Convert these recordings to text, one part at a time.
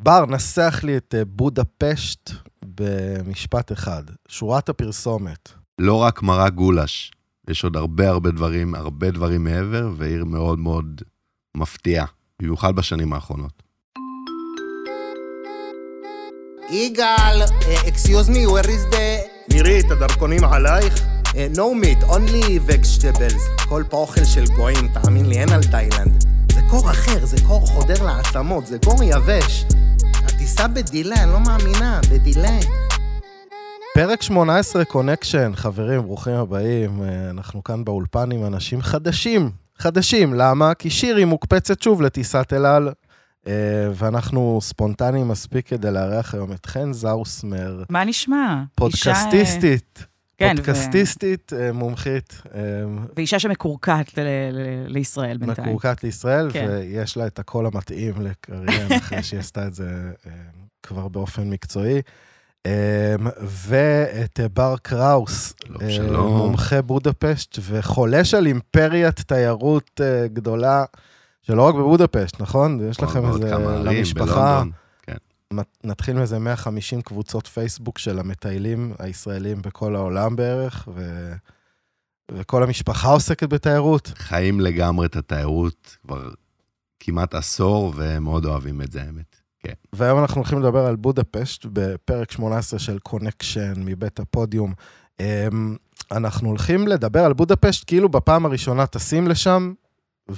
בר, נסח לי את אה, בודפשט במשפט אחד. שורת הפרסומת. לא רק מרק גולש, יש עוד הרבה הרבה דברים, הרבה דברים מעבר, ועיר מאוד מאוד מפתיעה, במיוחד בשנים האחרונות. יגאל, אקסיוז מי, where is the... מירי, את הדרכונים עלייך? אה, No meat, only vegetables. כל פה אוכל של גויים, תאמין לי, אין על תאילנד. זה קור אחר, זה קור חודר לעצמות, זה קור יבש. הטיסה בדילה, אני לא מאמינה, בדילה. פרק 18 קונקשן, חברים, ברוכים הבאים. אה, אנחנו כאן באולפן עם אנשים חדשים. חדשים, למה? כי שירי מוקפצת שוב לטיסת אל על, אה, ואנחנו ספונטניים מספיק כדי לארח היום את חן זאוסמר, מה נשמע? אישה, פודקאסטיסטית. אה, כן, ו- פודקאסטיסטית, אה, מומחית, אה, ואישה שמקורקעת ל- ל- לישראל בינתיים. מקורקעת לישראל, כן. ויש לה את הקול המתאים לקריין, אחרי שהיא עשתה את זה אה, כבר באופן מקצועי. אה, ואת אה, בר קראוס, לא, אה, שלום. מומחה בודפשט וחולש על אימפריית תיירות אה, גדולה, שלא רק בבודפשט, נכון? יש לכם עוד איזה, כמה ערים למשפחה, בלונדון. מת- נתחיל מאיזה 150 קבוצות פייסבוק של המטיילים הישראלים בכל העולם בערך, ו... וכל המשפחה עוסקת בתיירות. חיים לגמרי את התיירות כבר כמעט עשור, והם מאוד אוהבים את זה, האמת. כן. והיום אנחנו הולכים לדבר על בודפשט בפרק 18 של קונקשן מבית הפודיום. אמ, אנחנו הולכים לדבר על בודפשט כאילו בפעם הראשונה טסים לשם,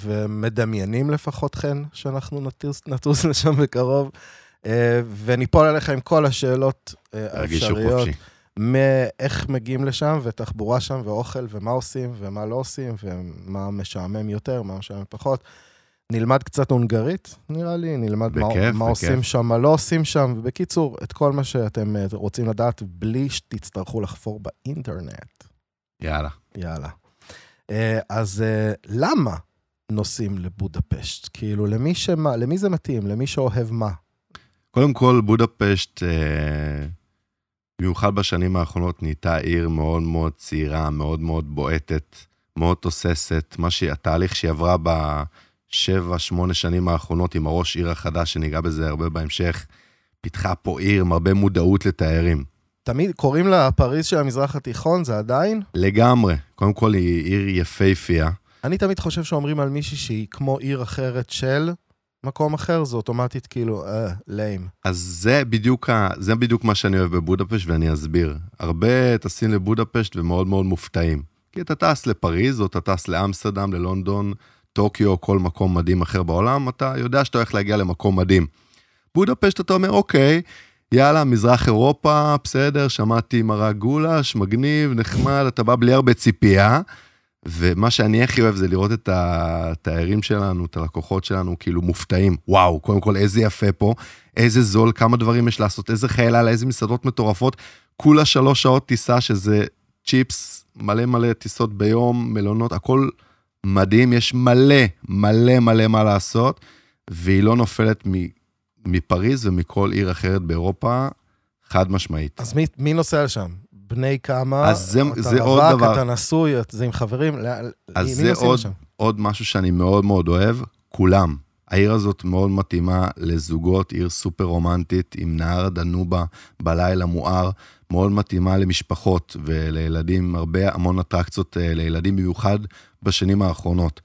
ומדמיינים לפחות כן שאנחנו נטוס, נטוס לשם בקרוב, אה, וניפול עליך עם כל השאלות אה, תרגישו האפשריות, חופשי. מאיך מגיעים לשם, ותחבורה שם, ואוכל, ומה עושים, ומה לא עושים, ומה משעמם יותר, מה משעמם פחות. נלמד קצת הונגרית, נראה לי, נלמד מה, בכיף, מה בכיף. עושים שם, מה לא עושים שם, ובקיצור, את כל מה שאתם אה, רוצים לדעת, בלי שתצטרכו לחפור באינטרנט. יאללה. יאללה. אה, אז אה, למה נוסעים לבודפשט? כאילו, למי, שמה, למי זה מתאים? למי שאוהב מה? קודם כל, בודפשט, אה, במיוחד בשנים האחרונות, נהייתה עיר מאוד מאוד צעירה, מאוד מאוד בועטת, מאוד תוססת. מה שהיא, התהליך שהיא עברה בשבע, שמונה שנים האחרונות עם הראש עיר החדש, שניגע בזה הרבה בהמשך, פיתחה פה עיר עם הרבה מודעות לתיירים. תמיד קוראים לה פריז של המזרח התיכון, זה עדיין? לגמרי. קודם כל, היא עיר יפהפייה. אני תמיד חושב שאומרים על מישהי שהיא כמו עיר אחרת של מקום אחר, זה אוטומטית כאילו, אה, ליים. אז זה בדיוק, ה... זה בדיוק מה שאני אוהב בבודפשט, ואני אסביר. הרבה טסים לבודפשט ומאוד מאוד מופתעים. כי אתה טס לפריז, או אתה טס לאמסטרדם, ללונדון, טוקיו, או כל מקום מדהים אחר בעולם, אתה יודע שאתה הולך להגיע למקום מדהים. בודפשט אתה אומר, אוקיי, יאללה, מזרח אירופה, בסדר, שמעתי מרק גולש, מגניב, נחמד, אתה בא בלי הרבה ציפייה. ומה שאני הכי אוהב זה לראות את התיירים שלנו, את הלקוחות שלנו, כאילו מופתעים. וואו, קודם כל, איזה יפה פה, איזה זול, כמה דברים יש לעשות, איזה חיילה, איזה מסעדות מטורפות. כולה שלוש שעות טיסה, שזה צ'יפס, מלא מלא טיסות ביום, מלונות, הכל מדהים, יש מלא, מלא מלא מה לעשות, והיא לא נופלת מ- מפריז ומכל עיר אחרת באירופה, חד משמעית. אז מי, מי נוסע לשם? בני כמה? אז זה- אתה זה רווק, עוד דבר. אתה נשוי, את- זה עם חברים? לא- אז מי זה נוסעים עוד- לשם? עוד משהו שאני מאוד מאוד אוהב, כולם. העיר הזאת מאוד מתאימה לזוגות, עיר סופר רומנטית, עם נהר דנובה בלילה מואר, מאוד מתאימה למשפחות ולילדים, הרבה המון אטרקציות אה, לילדים, במיוחד בשנים האחרונות.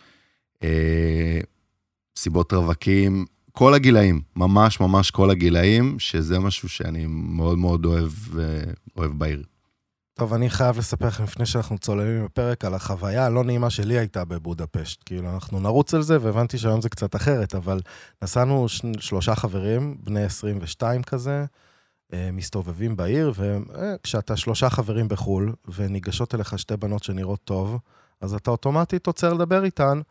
אה, סיבות רווקים, כל הגילאים, ממש ממש כל הגילאים, שזה משהו שאני מאוד מאוד אוהב, אה, אוהב בעיר. טוב, אני חייב לספר לכם לפני שאנחנו צוללים בפרק על החוויה הלא נעימה שלי הייתה בבודפשט. כאילו, אנחנו נרוץ על זה, והבנתי שהיום זה קצת אחרת, אבל נסענו ש... שלושה חברים, בני 22 כזה, אה, מסתובבים בעיר, וכשאתה שלושה חברים בחו"ל, וניגשות אליך שתי בנות שנראות טוב, אז אתה אוטומטית עוצר לדבר איתן,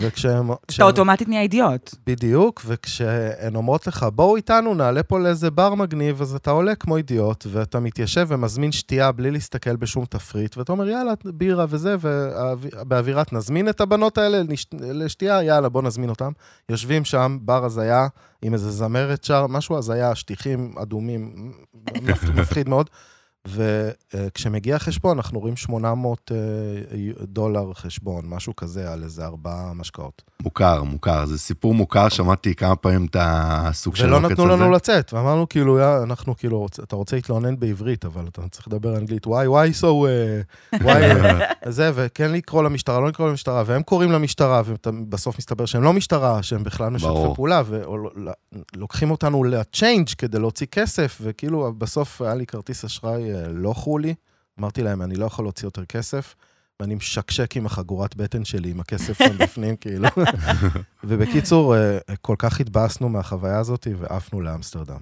וכשהן... אתה אוטומטית נהיה אידיוט. בדיוק, וכשהן אומרות לך, בואו איתנו, נעלה פה לאיזה בר מגניב, אז אתה עולה כמו אידיוט, ואתה מתיישב ומזמין שתייה בלי להסתכל בשום תפריט, ואתה אומר, יאללה, בירה וזה, ובאווירת נזמין את הבנות האלה לש- לשתייה, יאללה, בוא נזמין אותן. יושבים שם, בר הזיה, עם איזה זמרת שר, משהו הזיה, שטיחים אדומים, מפ- מפחיד מאוד. וכשמגיע חשבון, אנחנו רואים 800 אה, דולר חשבון, משהו כזה, על איזה ארבעה משקאות. מוכר, מוכר. זה סיפור מוכר, שמעתי כמה פעמים את הסוג של ולא העוקץ נתנו הזה. לנו לצאת, ואמרנו כאילו, "יא, אנחנו כאילו, רוצ- אתה רוצה להתלונן בעברית, אבל אתה צריך לדבר אנגלית, וואי, וואי, so, אה, וואי, אה, זה, וכן לקרוא למשטרה, לא לקרוא למשטרה, והם קוראים למשטרה, ובסוף מסתבר שהם לא משטרה, שהם בכלל משתפי ברור. פעולה, ולוקחים לא, אותנו לצ'יינג' כדי להוציא כסף, וכאילו, בסוף היה לי כרטיס אשראי אה, לא חולי, אמרתי להם, אני לא יכול להוציא יותר כסף. ואני משקשק עם החגורת בטן שלי, עם הכסף שם בפנים, כאילו. ובקיצור, אה, כל כך התבאסנו מהחוויה הזאת ועפנו לאמסטרדם.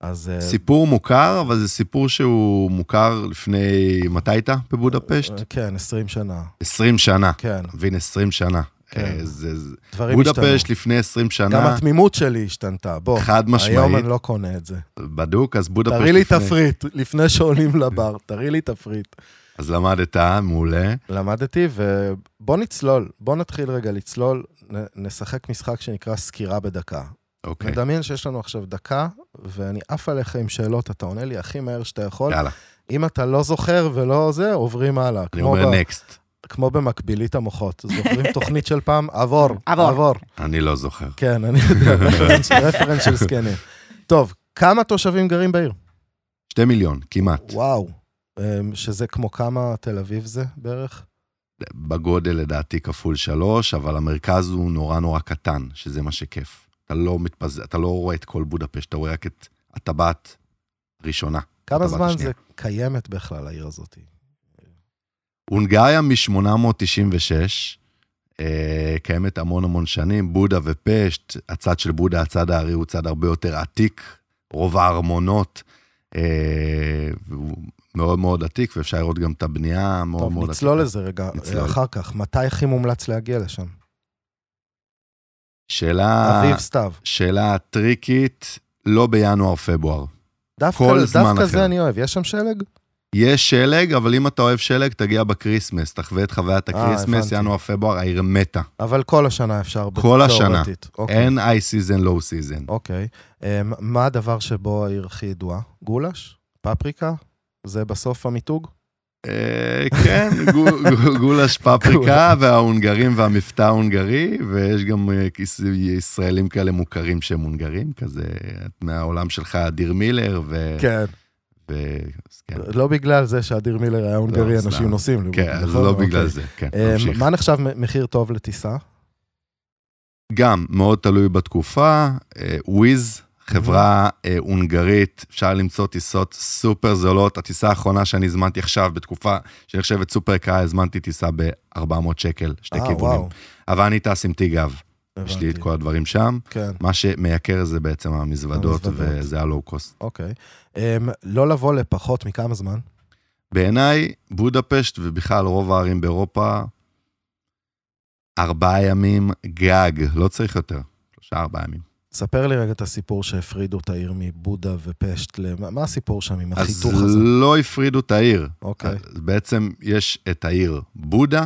אז... אה, סיפור מוכר, אבל זה סיפור שהוא מוכר לפני... מתי הייתה בבודפשט? אה, כן, 20 שנה. 20 שנה. כן, מבין, 20 שנה. כן. אה, זה- זה- דברים השתנו. בודפשט לפני 20 לא- גם שנה, התמימות שלי השתנתה, בוא. חד היום משמעית, אני לא קונה את זה. בדוק, אז בודפשט לפני... תראי לי תפריט, לפני שעולים לבר, תראי לי תפריט. אז למדת, מעולה. למדתי, ובוא נצלול, בוא נתחיל רגע לצלול, נ- נשחק משחק שנקרא סקירה בדקה. אוקיי, נדמיין שיש לנו עכשיו דקה, ואני עף עליך עם שאלות, אתה עונה לי הכי מהר שאתה יכול. יאללה, אם אתה לא זוכר ולא זה, עוברים הלאה. אני כמו ב- אומר נקסט. כמו במקבילית המוחות. זוכרים תוכנית של פעם? עבור. עבור. עבור. אני לא זוכר. כן, אני יודע, רפרנס- רפרנס של זקנים. טוב, כמה תושבים גרים בעיר? שתי מיליון, כמעט. וואו. אמ, שזה כמו כמה תל אביב זה בערך? בגודל לדעתי כפול שלוש, אבל המרכז הוא נורא נורא קטן, שזה מה שכיף. אתה לא מתפזר, אתה לא רואה את כל בודפשט, אתה רואה רק את הטבעת הראשונה. כמה הטבעת זמן זה השנייה. קיימת בכלל, העיר הזאת? הונגריה מ-896, אה, קיימת המון המון שנים, בודה ופשט, הצד של בודה, הצד הארי הוא צד הרבה יותר עתיק, רוב הארמונות, אה, והוא מאוד מאוד עתיק, ואפשר לראות גם את הבנייה המאוד מאוד טוב, עתיקה. נצלול לזה רגע נצלול. אה, אחר כך. מתי הכי מומלץ להגיע לשם? שאלה, אביב, סתיו. שאלה טריקית, לא בינואר-פברואר. דווקא כל זמן דווקא אחר. זה אני אוהב. יש שם שלג? יש שלג, אבל אם אתה אוהב שלג, תגיע בקריסמס, תחווה את חוויית אה, הקריסמס, הבנתי. ינואר-פברואר, העיר מתה. אבל כל השנה אפשר. כל השנה. תיאורטית. אוקיי. אין איי סיזן, לואו סיזן. אוקיי. אמ, מה הדבר שבו העיר הכי ידועה? גולש? פפריקה? זה בסוף המיתוג? אה, כן, גו- גו- גולש פפריקה וההונגרים והמבטא ההונגרי, ויש גם אה, כיס- ישראלים כאלה מוכרים שהם הונגרים, כזה מהעולם שלך, אדיר מילר, ו... כן. ו- אז כן. לא בגלל זה שאדיר מילר היה הונגרי, לא, סתם. אנשים נוסעים. לבודפשט, כן, אז נכון? לא אוקיי. בגלל זה, כן, אמ, תמשיך. מה נחשב מ- מחיר טוב לטיסה? אה, גם, מאוד תלוי בתקופה. אה, וויז, חברה אה, הונגרית, אפשר למצוא טיסות סופר זולות. הטיסה האחרונה שאני הזמנתי עכשיו, בתקופה שנחשבת סופר יקרה, הזמנתי טיסה ב-400 שקל, שתי אה, כיוונים. וואו, אבל אני טס עם תיגב, יש לי את הבנתי. כל הדברים שם. כן, מה שמייקר זה בעצם המזוודות, המזוודות. וזה הלואו קוסט. אוקיי. אמ, לא לבוא לפחות מכמה זמן? בעיניי, בודפשט ובכלל רוב הערים באירופה, ארבעה ימים גג, לא צריך יותר. שלושה, ארבעה ימים. ספר לי רגע את הסיפור שהפרידו את העיר מבודה ופשט. למה- מה הסיפור שם עם אז החיתוך הזה? לא הפרידו את העיר. אוקיי. אז בעצם יש את העיר בודה,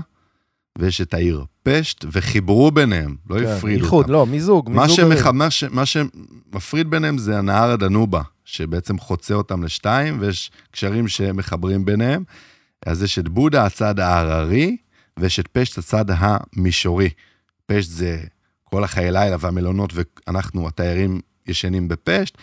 ויש את העיר פשט, וחיברו ביניהם, לא כן, הפרידו איחוד, אותם. לא, מיזוג, מה, מיזוג. שמח... ערים. מה, ש... מה שמפריד ביניהם זה הנהר הדנובה, שבעצם חוצה אותם לשתיים, ויש קשרים שמחברים ביניהם. אז יש את בודה, הצד ההררי, ויש את פשט, הצד המישורי. פשט זה כל החיי לילה והמלונות, ואנחנו, התיירים, ישנים בפשט,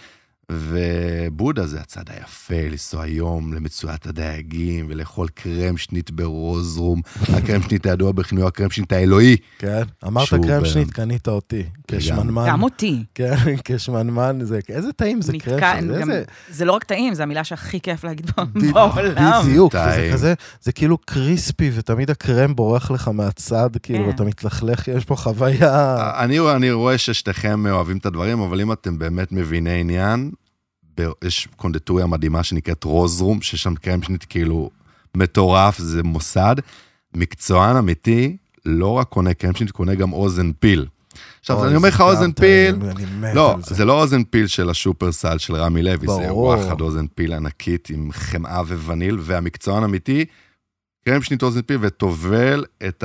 ובודה זה הצד היפה, לנסוע יום למצואת הדייגים ולאכול קרם שנית ברוזרום. הקרם שנית הידוע בכינוי הקרם שנית האלוהי. כן, אמרת שהוא קרם ב- שנית, קנית אותי. כשמנמן. גם אותי. כן, כשמנמן, זה, איזה טעים זה נתקע- קרם, גם- איזה... זה לא רק טעים, זו המילה שהכי כיף להגיד ב- ב- בעולם. בדיוק, וזה טעים. כזה, זה כאילו קריספי, ותמיד הקרם בורח לך מהצד, כאילו, כן. ואתה מתלכלך, יש פה חוויה... אני, אני רואה ששתיכם אוהבים את הדברים, אבל אם אתם באמת מביני עניין, ב- יש קונדטוריה מדהימה שנקראת רוזרום, שיש שם קרם שנית כאילו מטורף, זה מוסד. מקצוען אמיתי, לא רק קונה קרם שנית, קונה גם אוזן פיל. עכשיו, אוי, אני אומר זה לך טעם אוזן פיל, טעים, אני מת לא, על זה לא אוזן פיל של השופרסל של רמי לוי, זה ברור. וואחד אוזן פיל ענקית עם חמאה ווניל, והמקצוען אמיתי, קרם שנית אוזן פיל וטובל את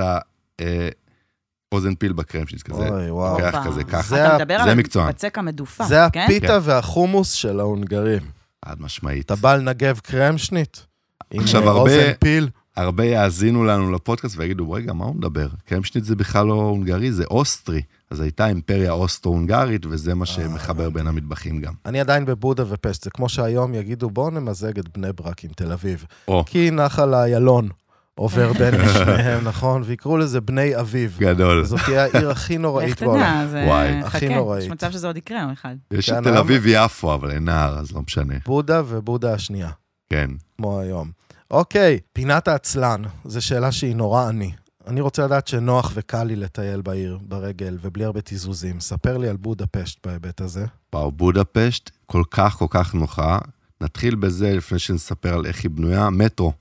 האוזן פיל בקרם שנית כזה. אוי, וואו. לוקח הופה. כזה ככה. זה ה- אתה מדבר זה על מקצוען. הבצק המדופק, זה כן? הפיתה והחומוס של ההונגרים. חד משמעית. אתה בא לנגב קרמשנית? עם עכשיו, אה, הרבה- רוזן פיל? הרבה יאזינו לנו לפודקאסט ויגידו, רגע, מה הוא מדבר? קרמשניט זה בכלל לא הונגרי, זה אוסטרי. אז הייתה אימפריה אוסטרו-הונגרית, וזה מה שמחבר בין המטבחים גם. אני עדיין בבודה ופשט, זה כמו שהיום יגידו, בואו נמזג את בני ברק עם תל אביב. או, כי נחל איילון עובר בין שניהם, נכון? ויקראו לזה בני אביב. גדול. זאת תהיה העיר הכי נוראית בעולם. תדע, זה... וואי. חכה, הכי נוראית. יש מצב שזה עוד יקרה יום אחד. יש כן, את תל למה? אביב יפו, אבל אין נהר, אז לא משנה. בודה ובודה השנייה, כן. כמו היום. אוקיי, פינת העצלן, זו שאלה שהיא נורא עני. אני רוצה לדעת שנוח וקל לי לטייל בעיר, ברגל, ובלי הרבה תיזוזים. ספר לי על בודפשט בהיבט הזה. וואו, בודפשט כל כך כל כך נוחה. נתחיל בזה לפני שנספר על איך היא בנויה. מטרו.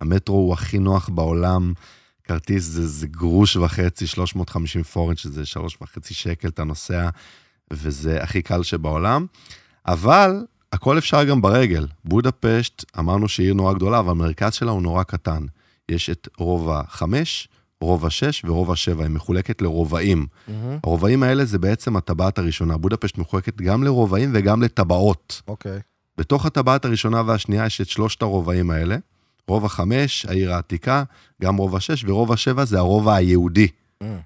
המטרו הוא הכי נוח בעולם. כרטיס זה, זה גרוש וחצי, 350 פורנט, שזה שלוש וחצי שקל, אתה נוסע, וזה הכי קל שבעולם. אבל הכל אפשר גם ברגל. בודפשט, אמרנו שהיא עיר נורא גדולה, אבל המרכז שלה הוא נורא קטן. יש את רובע חמש, רובע שש ורובע שבע, היא מחולקת לרובעים. הרובעים האלה זה בעצם הטבעת הראשונה. בודפשט מחולקת גם לרובעים וגם לטבעות. אוקיי. בתוך הטבעת הראשונה והשנייה יש את שלושת הרובעים האלה. רובע חמש, העיר העתיקה, גם רובע שש, ורובע שבע זה הרובע היהודי, אה.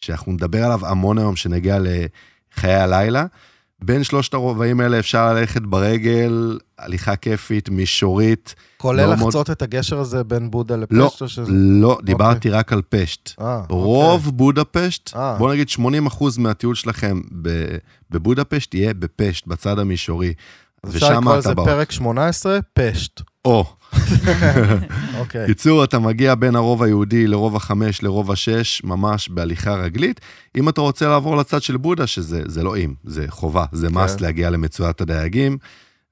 שאנחנו נדבר עליו המון היום כשנגיע לחיי הלילה. בין שלושת הרובעים האלה אפשר ללכת ברגל, הליכה כיפית, מישורית. כולל מאוד מאוד- לחצות את הגשר הזה בין בודה לפשט? לא, או שזה- אוקיי. לא, דיברתי רק על פשט. אה, אוקיי. רוב בודפשט, אה. בוא נגיד 80% מהטיול שלכם ב- בבודפשט יהיה בפשט, בצד המישורי. אז אפשר לקרוא לזה בא- פרק כן. 18, פשט. או, אוקיי. קיצור, אתה מגיע בין הרוב היהודי לרוב החמש לרוב השש, ממש בהליכה רגלית. אם אתה רוצה לעבור לצד של בודה, שזה זה לא אם, זה חובה, זה כן. מס להגיע למצוית הדייגים,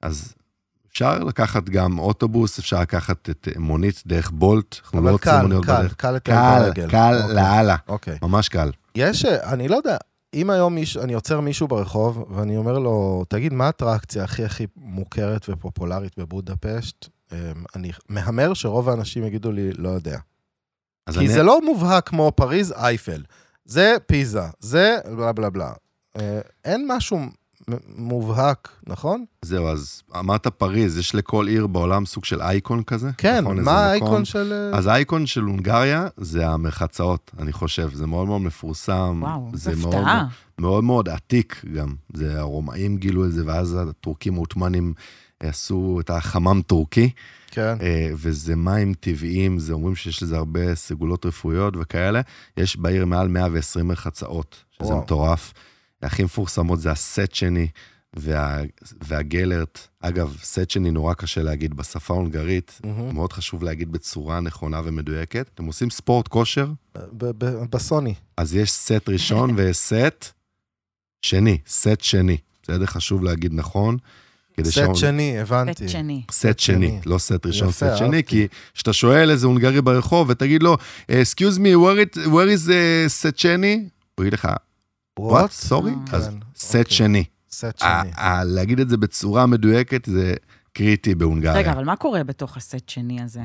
אז אפשר לקחת גם אוטובוס, אפשר לקחת את אה, מונית דרך בולט, אנחנו לא אבל רוצים קל, מוניות קל, בדרך. קל לטייל קל, ברגל. קל אוקיי. לאללה, אוקיי. ממש קל. יש, אה, אני לא יודע, אם היום מיש, אני עוצר מישהו ברחוב, ואני אומר לו, תגיד, מה האטרקציה הכי הכי מוכרת ופופולרית בבודפשט? אמ, אני מהמר שרוב האנשים יגידו לי, לא יודע. אז כי זה לא מובהק כמו פריז אייפל. זה פיזה, זה בלה בלה בלה. אה, אין משהו מ- מובהק, נכון? זהו, אז אמרת פריז, יש לכל עיר בעולם סוג של אייקון כזה? כן, נכון, איזה מה מקום? האייקון של... אה, אז האייקון של הונגריה זה המרחצאות, אני חושב. זה מאוד מאוד מפורסם. וואו, זו זה מאוד- הפתעה. מאוד מאוד עתיק גם. זה הרומאים גילו את זה, ואז הטורקים העות'מאנים עשו את החמם טורקי, כן. אה, וזה מים טבעיים, זה אומרים שיש לזה הרבה סגולות רפואיות וכאלה. יש בעיר מעל 120 מרחצאות, שזה וואו. מטורף. הכי מפורסמות זה הסט שני וה, והגלרט. אגב, סט שני נורא קשה להגיד בשפה ההונגרית, מהמם. מאוד חשוב להגיד בצורה נכונה ומדויקת. אתם עושים ספורט כושר, ב- ב- בסוני. אז יש סט ראשון ויש סט שני, סט שני. בסדר? חשוב להגיד נכון. כדי סט שהאונ- שני, הבנתי. בית שני. סט שני. שני, לא סט ראשון, יפה, סט שני, אהבתי. כי כשאתה שואל איזה הונגרי ברחוב ותגיד לו, excuse me, where, it, where is uh, סט שני? הוא יגיד לך, what? אה. sorry? כן, אז אוקיי. סט שני. סט ה- שני. ה- להגיד את זה בצורה מדויקת זה קריטי רגע, בהונגריה. אבל מה קורה בתוך הסט שני הזה?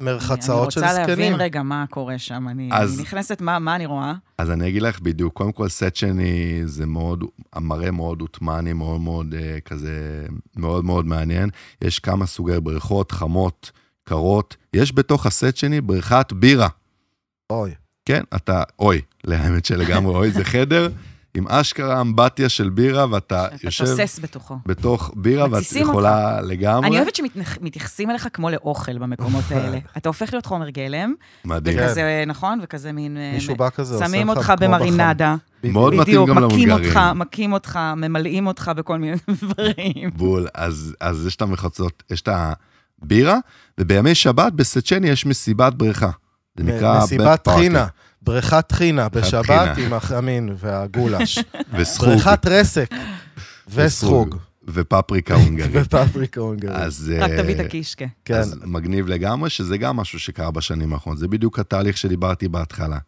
מרחצאות של זקנים. אה, אני רוצה להבין רגע מה קורה שם. אני אז- אני נכנסת, מה מה אני רואה? אז אני אגיד לך בדיוק, קודם כל סט שני זה מאוד, המראה מאוד עות'מאני, מאוד מאוד אה, כזה, מאוד מאוד מעניין. יש כמה סוגי בריכות, חמות, קרות. יש בתוך הסט שני בריכת בירה. אוי, כן, אתה, אוי, האמת שלגמרי, אוי, זה חדר עם אשכרה אמבטיה של בירה, ואתה אתה יושב תוסס בתוכו. בתוך בירה, ואת מתסיסים יכולה לגמרי. אני אוהבת שמתייחסים אליך כמו לאוכל במקומות האלה. אתה הופך להיות חומר גלם, מדהים. כן. וכזה, נכון? וכזה מין... אה, מישהו בא כזה, עושה לך שמים אותך כמו בחם. במרינדה. בדיוק. מאוד מתאים בדיוק, גם מכים להונגרים. אותך, מכים אותך, ממלאים אותך בכל מיני דברים. בול. אז, אז יש את המחצות, יש את הבירה, ובימי שבת בסצ'ני יש מסיבת בריכה. זה נקרא... מ- מסיבת bed party. טחינה, בריכת טחינה בשבת טחינה. עם החמין והגולש. וסחוג. בריכת רסק וסחוג ופפריקה הונגרית. ופפריקה הונגרית. אז... רק תביא את אה, הקישקה. כן, אז מגניב לגמרי, שזה גם משהו שקרה בשנים האחרונות. זה בדיוק התהליך שדיברתי בהתחלה.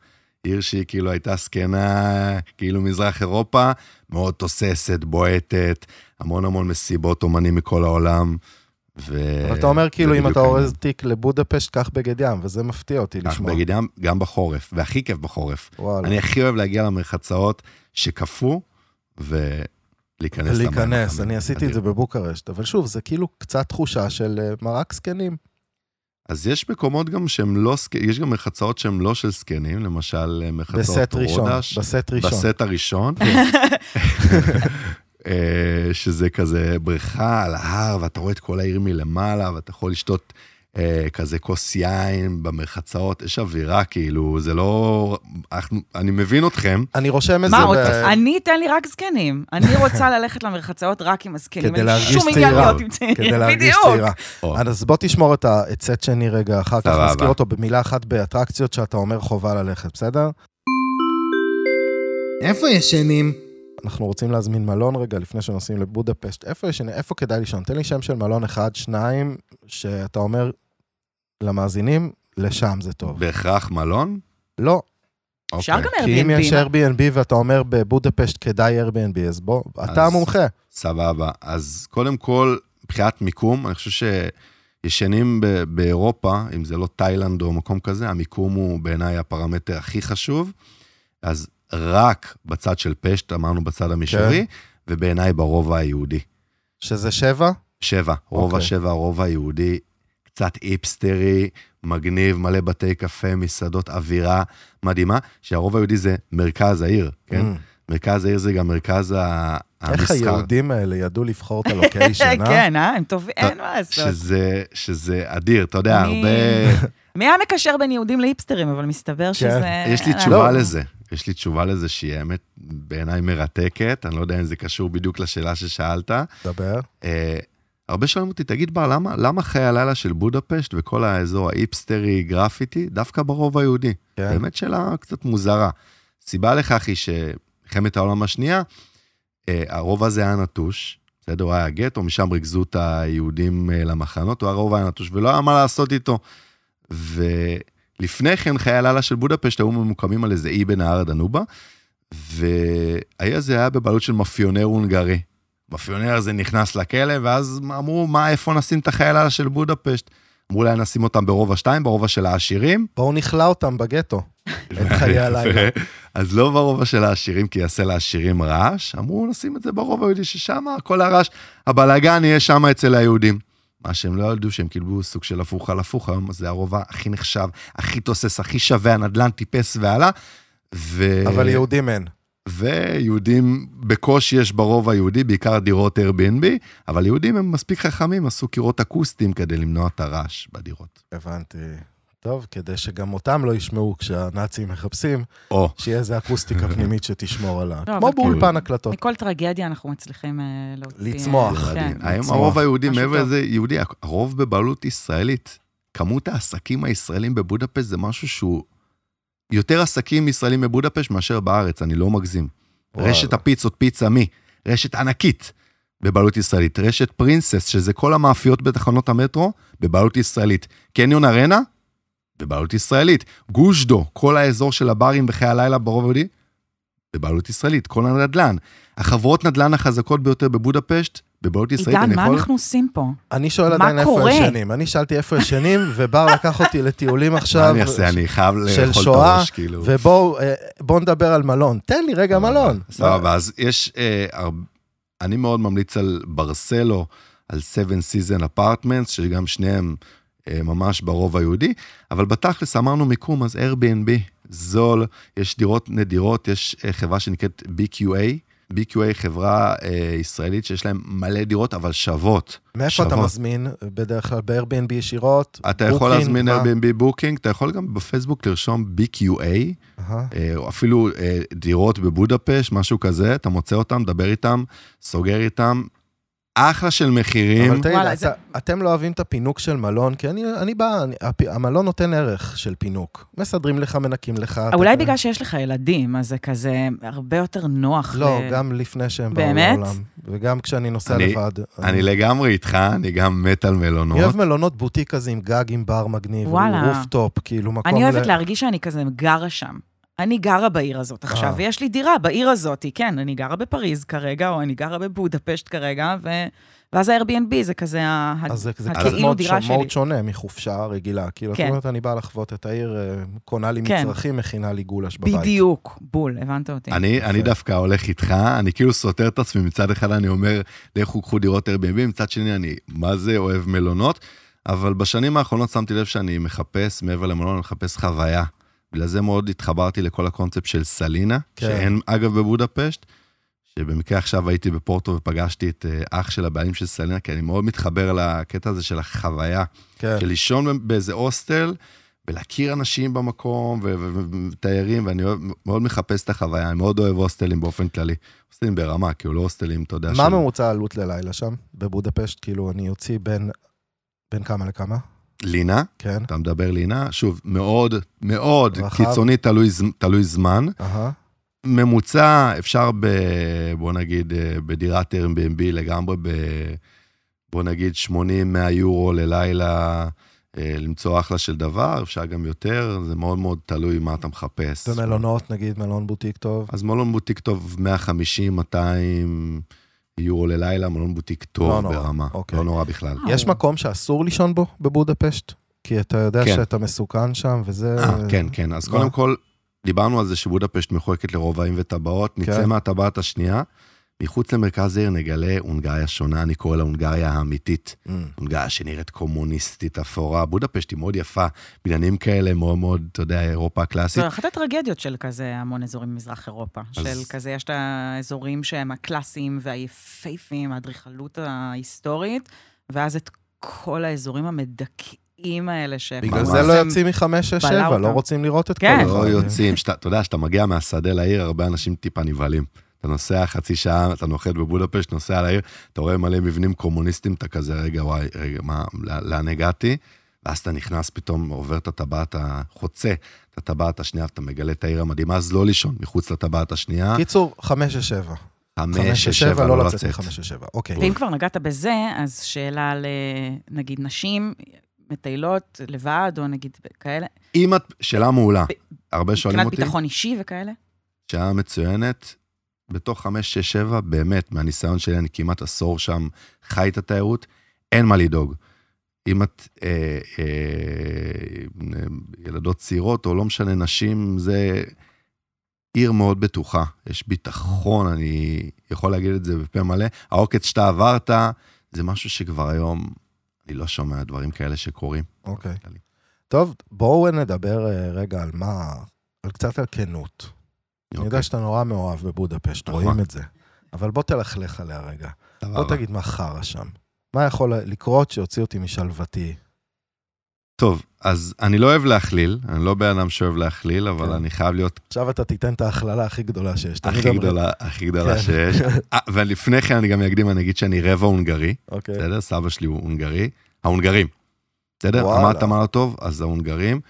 עיר שהיא כאילו הייתה זקנה, כאילו מזרח אירופה, מאוד תוססת, בועטת, המון המון מסיבות אומנים מכל העולם. ו... אבל אתה אומר כאילו אה, זה אם בדיוק אתה העניין. אורז תיק לבודפשט, קח בגד ים, וזה מפתיע אותי כך לשמוע. בגד ים, גם בחורף, והכי כיף בחורף. וואלה. אני הכי אוהב להגיע למרחצאות שקפוא, ו... להיכנס ולהיכנס. המאמן. אני עשיתי את זה אדיר. בבוקרשט, אבל שוב, זה כאילו קצת תחושה של אה, מרק זקנים. אז יש מקומות גם שהם לא, סק- יש גם מרחצאות שהן לא של זקנים, למשל אה, מרחצאות בסט ראשון, רודש. בסט ראשון. בסט הראשון. כן. אה, שזה כזה בריכה על ההר, ואתה רואה את כל העיר מלמעלה, ואתה יכול לשתות אה, כזה כוס יין במרחצאות, יש אווירה, כאילו, זה לא... אנחנו, אני מבין אתכם, אני רושם את זה. מה ב- עוד? אני, תן לי רק זקנים. אני רוצה ללכת למרחצאות רק עם הזקנים. כדי אין לי להרגיש שום עניין צעירה. להיות עם צעירים. כדי להרגיש בדיוק. צעירה. או, אז בוא תשמור את ה- את סט שני רגע אחר כך, נכון. סבבה. נזכיר אותו במילה אחת באטרקציות שאתה אומר חובה ללכת, בסדר? איפה ישנים? אנחנו רוצים להזמין מלון רגע לפני שנוסעים לבודפשט. איפה יש, איפה כדאי לישון? תן לי שם של מלון אחד, שניים, שאתה אומר למאזינים, לשם זה טוב. בהכרח מלון? לא, אפשר אוקיי, גם כי אם יש Airbnb. מה? Airbnb ואתה אומר בבודפשט כדאי Airbnb, אז בוא, אתה אז- המומחה. סבבה. אז קודם כל, מבחינת מיקום, אני חושב שישנים ב- באירופה, אם זה לא תאילנד או מקום כזה, המיקום הוא בעיניי הפרמטר הכי חשוב. אז רק בצד של פשט, אמרנו בצד המישורי, כן. ובעיניי ברובע היהודי. שזה שבע? שבע, רובע אוקיי. שבע, רובע יהודי, קצת היפסטרי, מגניב, מלא בתי קפה, מסעדות, אווירה מדהימה, שהרובע היהודי זה מרכז העיר, כן? Mm. מרכז העיר זה גם מרכז ה- המסחר. איך היהודים האלה ידעו לבחור את הלוקיישן, אה? כן, אה? הם טובים, אין מה לעשות. שזה, שזה אדיר, אתה יודע, אני- הרבה... מי היה מקשר בין יהודים להיפסטרים, אבל מסתבר כן. שזה... יש לי אה, תשובה לא. לזה. יש לי תשובה לזה שהיא האמת בעיניי מרתקת, אני לא יודע אם זה קשור בדיוק לשאלה ששאלת. דבר. אה, הרבה שואלים אותי, תגיד בר, למה, למה חיי הלילה של בודפשט וכל האזור האיפסטרי, גרפיטי, דווקא ברובע היהודי? כן. באמת שאלה קצת מוזרה. סיבה לכך היא שמלחמת העולם השנייה, אה, הרובע הזה היה נטוש, בסדר, הוא היה גטו, משם ריכזו את היהודים אה, למחנות, הוא הרובע היה נטוש ולא היה מה לעשות איתו. ולפני כן חיי הלילה של בודפשט היו ממוקמים על איזה אי בנהר הדנובה, והאי הזה היה בבעלות של מאפיונר הונגרי. מאפיונר הזה נכנס לכלא, ואז אמרו, מה, איפה נשים את חיי הלילה של בודפשט? אמרו להם, נשים אותם ברובע 2, ברובע של העשירים. בואו נכלא אותם בגטו. את חיי הלילה. אז לא ברובע של העשירים, כי יעשה לעשירים רעש, אמרו, נשים את זה ברובע היהודי, ששם כל הרעש, הבלאגן יהיה שם אצל היהודים. מה שהם לא ידעו, שהם קיבלו סוג של הפוך על הפוך, היום זה הרובע הכי נחשב, הכי תוסס, הכי שווה, הנדלן טיפס ועלה. ו... אבל יהודים אין. ויהודים, בקושי יש ברובע היהודי, בעיקר דירות Airbnb, אבל יהודים הם מספיק חכמים, עשו קירות אקוסטיים כדי למנוע את הרעש בדירות. הבנתי. טוב, כדי שגם אותם לא ישמעו כשהנאצים מחפשים, או, שיהיה איזו אקוסטיקה פנימית שתשמור עליו. לא, כמו אבל באולפן הקלטות. מכל טרגדיה אנחנו מצליחים אה, להוציא... אה, לצמוח. כן. מדהים. היום מצמוח. הרוב היהודי, משהו מעבר טוב. לזה יהודי, הרוב בבעלות ישראלית. כמות העסקים הישראלים בבודפשט זה משהו שהוא... יותר עסקים ישראלים בבודפשט מאשר בארץ, אני לא מגזים. וואלה. רשת הפיצות, פיצה מי? רשת ענקית בבעלות ישראלית. רשת פרינסס, שזה כל המאפיות בתחנות המטרו, בבעלות ישראלית. קניון ארנה, בבעלות ישראלית. גושדו, כל האזור של הברים בחיי הלילה ברוב היהודי, בבעלות ישראלית. כל הנדל"ן. החברות נדל"ן החזקות ביותר בבודפשט, בבעלות ישראלית. עידן, אני מה יכול- אנחנו עושים פה? אני שואל מה עדיין איפה קורה? ישנים. אני שאלתי איפה ישנים, ובר לקח אותי לטיולים מה עכשיו. אני אעשה? אני חייב של לאכול את שואה, הראש, כאילו. ובואו אה, בואו נדבר על מלון. תן לי רגע מלון. סבבה, לא, אז יש... אה, הרבה- אני מאוד ממליץ על ברסלו, על 7 Season Apartments, שגם שניהם אה, ממש ברוב היהודי, אבל בתכלס אמרנו מיקום, אז Airbnb, זול, יש דירות נדירות, יש אה, חברה שנקראת BQA. BQA היא חברה אה, ישראלית שיש להם מלא דירות, אבל שוות. מאיפה אתה שוות. מזמין? בדרך כלל ב-Airbnb ישירות? אתה יכול בוקינג, להזמין מה? Airbnb בוקינג, אתה יכול גם בפייסבוק לרשום BQA, אהה. אה, או אפילו אה, דירות בבודפשט, משהו כזה, אתה מוצא אותם, מדבר איתם, סוגר איתם. אחלה של מחירים. אבל תגיד, וואלה, אתה- אתם לא אוהבים את הפינוק של מלון, כי אני אני בא, אני- הפ- המלון נותן ערך של פינוק. מסדרים לך, מנקים לך. אתה- אולי בגלל שיש לך ילדים, אז זה כזה הרבה יותר נוח. לא, ל- גם לפני שהם באו באמת? לעולם. וגם כשאני נוסע אני- לבד. אני לגמרי איתך, אני גם מת על אני מלונות. אוהב מלונות בוטיק כזה עם גג, עם בר מגניב, וואלה. רופטופ, כאילו מקום... אני ל- אוהבת להרגיש שאני כזה גרה שם. אני גרה בעיר הזאת עכשיו, אה. ויש לי דירה בעיר הזאת, כן, אני גרה בפריז כרגע, או אני גרה בבודפשט כרגע, ו... ואז ה-Airbnb זה כזה ה- אז זה זה קצת הכאילו מאוד כאילו דירה ש- שלי. מאוד שונה מחופשה רגילה. כאילו, את כן. אומרת, אני באה לחוות את העיר, אה, קונה לי כן. מצרכים, מכינה לי גולש בבית. בדיוק, בול, הבנת אותי. אני, יפה. אני דווקא הולך איתך, אני כאילו סותר את עצמי, מצד אחד אני אומר, לכו קחו דירות Airbnb, מצד שני אני, מה זה, אוהב מלונות, אבל בשנים האחרונות שמתי לב שאני מחפש, מעבר למלון, אני מחפש חוויה. בגלל זה מאוד התחברתי לכל הקונספט של סלינה, כן. כן. שאין, אגב, בבודפשט, שבמקרה עכשיו הייתי בפורטו ופגשתי את אה, אח של הבעלים של סלינה, כי אני מאוד מתחבר לקטע הזה של החוויה. כן. של לישון באיזה הוסטל, ולהכיר אנשים במקום, ו- ו- ו- ותיירים, ואני אוהב, מאוד מחפש את החוויה, אני מאוד אוהב הוסטלים באופן כללי. הוסטלים ברמה, כאילו לא הוסטלים, אתה יודע, מה ממוצע העלות ללילה שם, בבודפשט? כאילו, אני אוציא בין... בין כמה לכמה? לינה, כן. אתה מדבר לינה, שוב, מאוד, מאוד רחב. קיצוני, תלוי, ז- תלוי זמן. אהה. ממוצע, אפשר ב... בוא נגיד, אה, בדירת Airbnb לגמרי, ב... בוא נגיד 80-100 יורו ללילה, אה, למצוא אחלה של דבר, אפשר גם יותר, זה מאוד מאוד תלוי מה אתה מחפש. במלונות, נגיד, מלון בוטיק טוב. אז מלון בוטיק טוב 150, 200 יורו ללילה, מלון בוטיק לא טוב נורא, ברמה. אוקיי. לא נורא בכלל. אה, יש וואו. מקום שאסור לישון בו בבודפשט? כי אתה יודע כן. שאתה מסוכן שם, וזה... אה, כן, כן. אז מה? קודם כל, דיברנו על זה שבודפשט מחולקת לרובעים וטבעות, נצא כן. מהטבעת השנייה. מחוץ למרכז העיר נגלה הונגריה שונה, אני קורא לה הונגריה האמיתית. Mm. הונגריה שנראית קומוניסטית, אפורה. בודפשט היא מאוד יפה, בניינים כאלה מאוד מאוד, אתה יודע, אירופה הקלאסית. זו לא, אחת הטרגדיות של כזה המון אזורים במזרח אירופה. של כזה, יש את האזורים שהם הקלאסיים והיפהפיים, האדריכלות ההיסטורית, ואז את כל האזורים המדכאים האלה ש... בגלל ממש. זה לא הם- יוצאים מחמש, שש, בלע שבע, לא אותם. רוצים לראות את כל כן. אחד. לא יוצאים, שאתה- אתה יודע, כשאתה מגיע מהשדה לעיר, הרבה אנשים טיפה נבהלים. אתה נוסע חצי שעה, אתה נוחת בבודפשט, נוסע לעיר, אתה רואה מלא מבנים קומוניסטים, אתה כזה, רגע, וואי, רגע, מה, לא- לאן הגעתי? ואז אתה נכנס, פתאום עובר את הטבעת, ה- חוצה את הטבעת השנייה, ואתה מגלה את העיר המדהימה, אז לא לישון מחוץ לטבעת השנייה. קיצור, חמש שש, שבע. חמש, חמש שש, שש, שבע, שבע, לא לצאת מחמש שש, שבע. אוקיי. ואם כבר נגעת בזה, אז שאלה ל... נגיד נשים מטיילות לבד, או נגיד כאלה, אם את, שאלה מעולה, הרבה שואלים מבחינת אותי, ביטחון אישי וכאלה. שעה מצוינת. בתוך חמש, שש, שבע, באמת, מהניסיון שלי, אני כמעט עשור שם, חי את התיירות, אין מה לדאוג. אם את אה, אה, אה, ילדות צעירות, או לא משנה, נשים, זה עיר מאוד בטוחה. יש ביטחון, אני יכול להגיד את זה בפה מלא. העוקץ שאתה עברת, זה משהו שכבר היום, אני לא שומע דברים כאלה שקורים. אוקיי. טוב, בואו נדבר אה, רגע על מה... על קצת על כנות. אני יודע אוקיי, שאתה נורא מאוהב בבודפשט, נכון. רואים את זה. אבל בוא תלכלך עליה רגע. בוא סבבה. תגיד מה חרא שם. מה יכול לקרות שיוציא אותי משלוותי? טוב, אז אני לא אוהב להכליל, אני לא בן אדם שאוהב להכליל, אבל כן. אני חייב להיות עכשיו אתה תיתן את ההכללה הכי גדולה שיש. תמיד הכי אומרים. גדולה, הכי גדולה כן. שיש. אה, ולפני כן אני גם אקדים, אני אגיד שאני רבע הונגרי, אוקיי. בסדר? סבא שלי הוא הונגרי. ההונגרים, בסדר? וואלה. אמרת מה לא טוב, אז ההונגרים.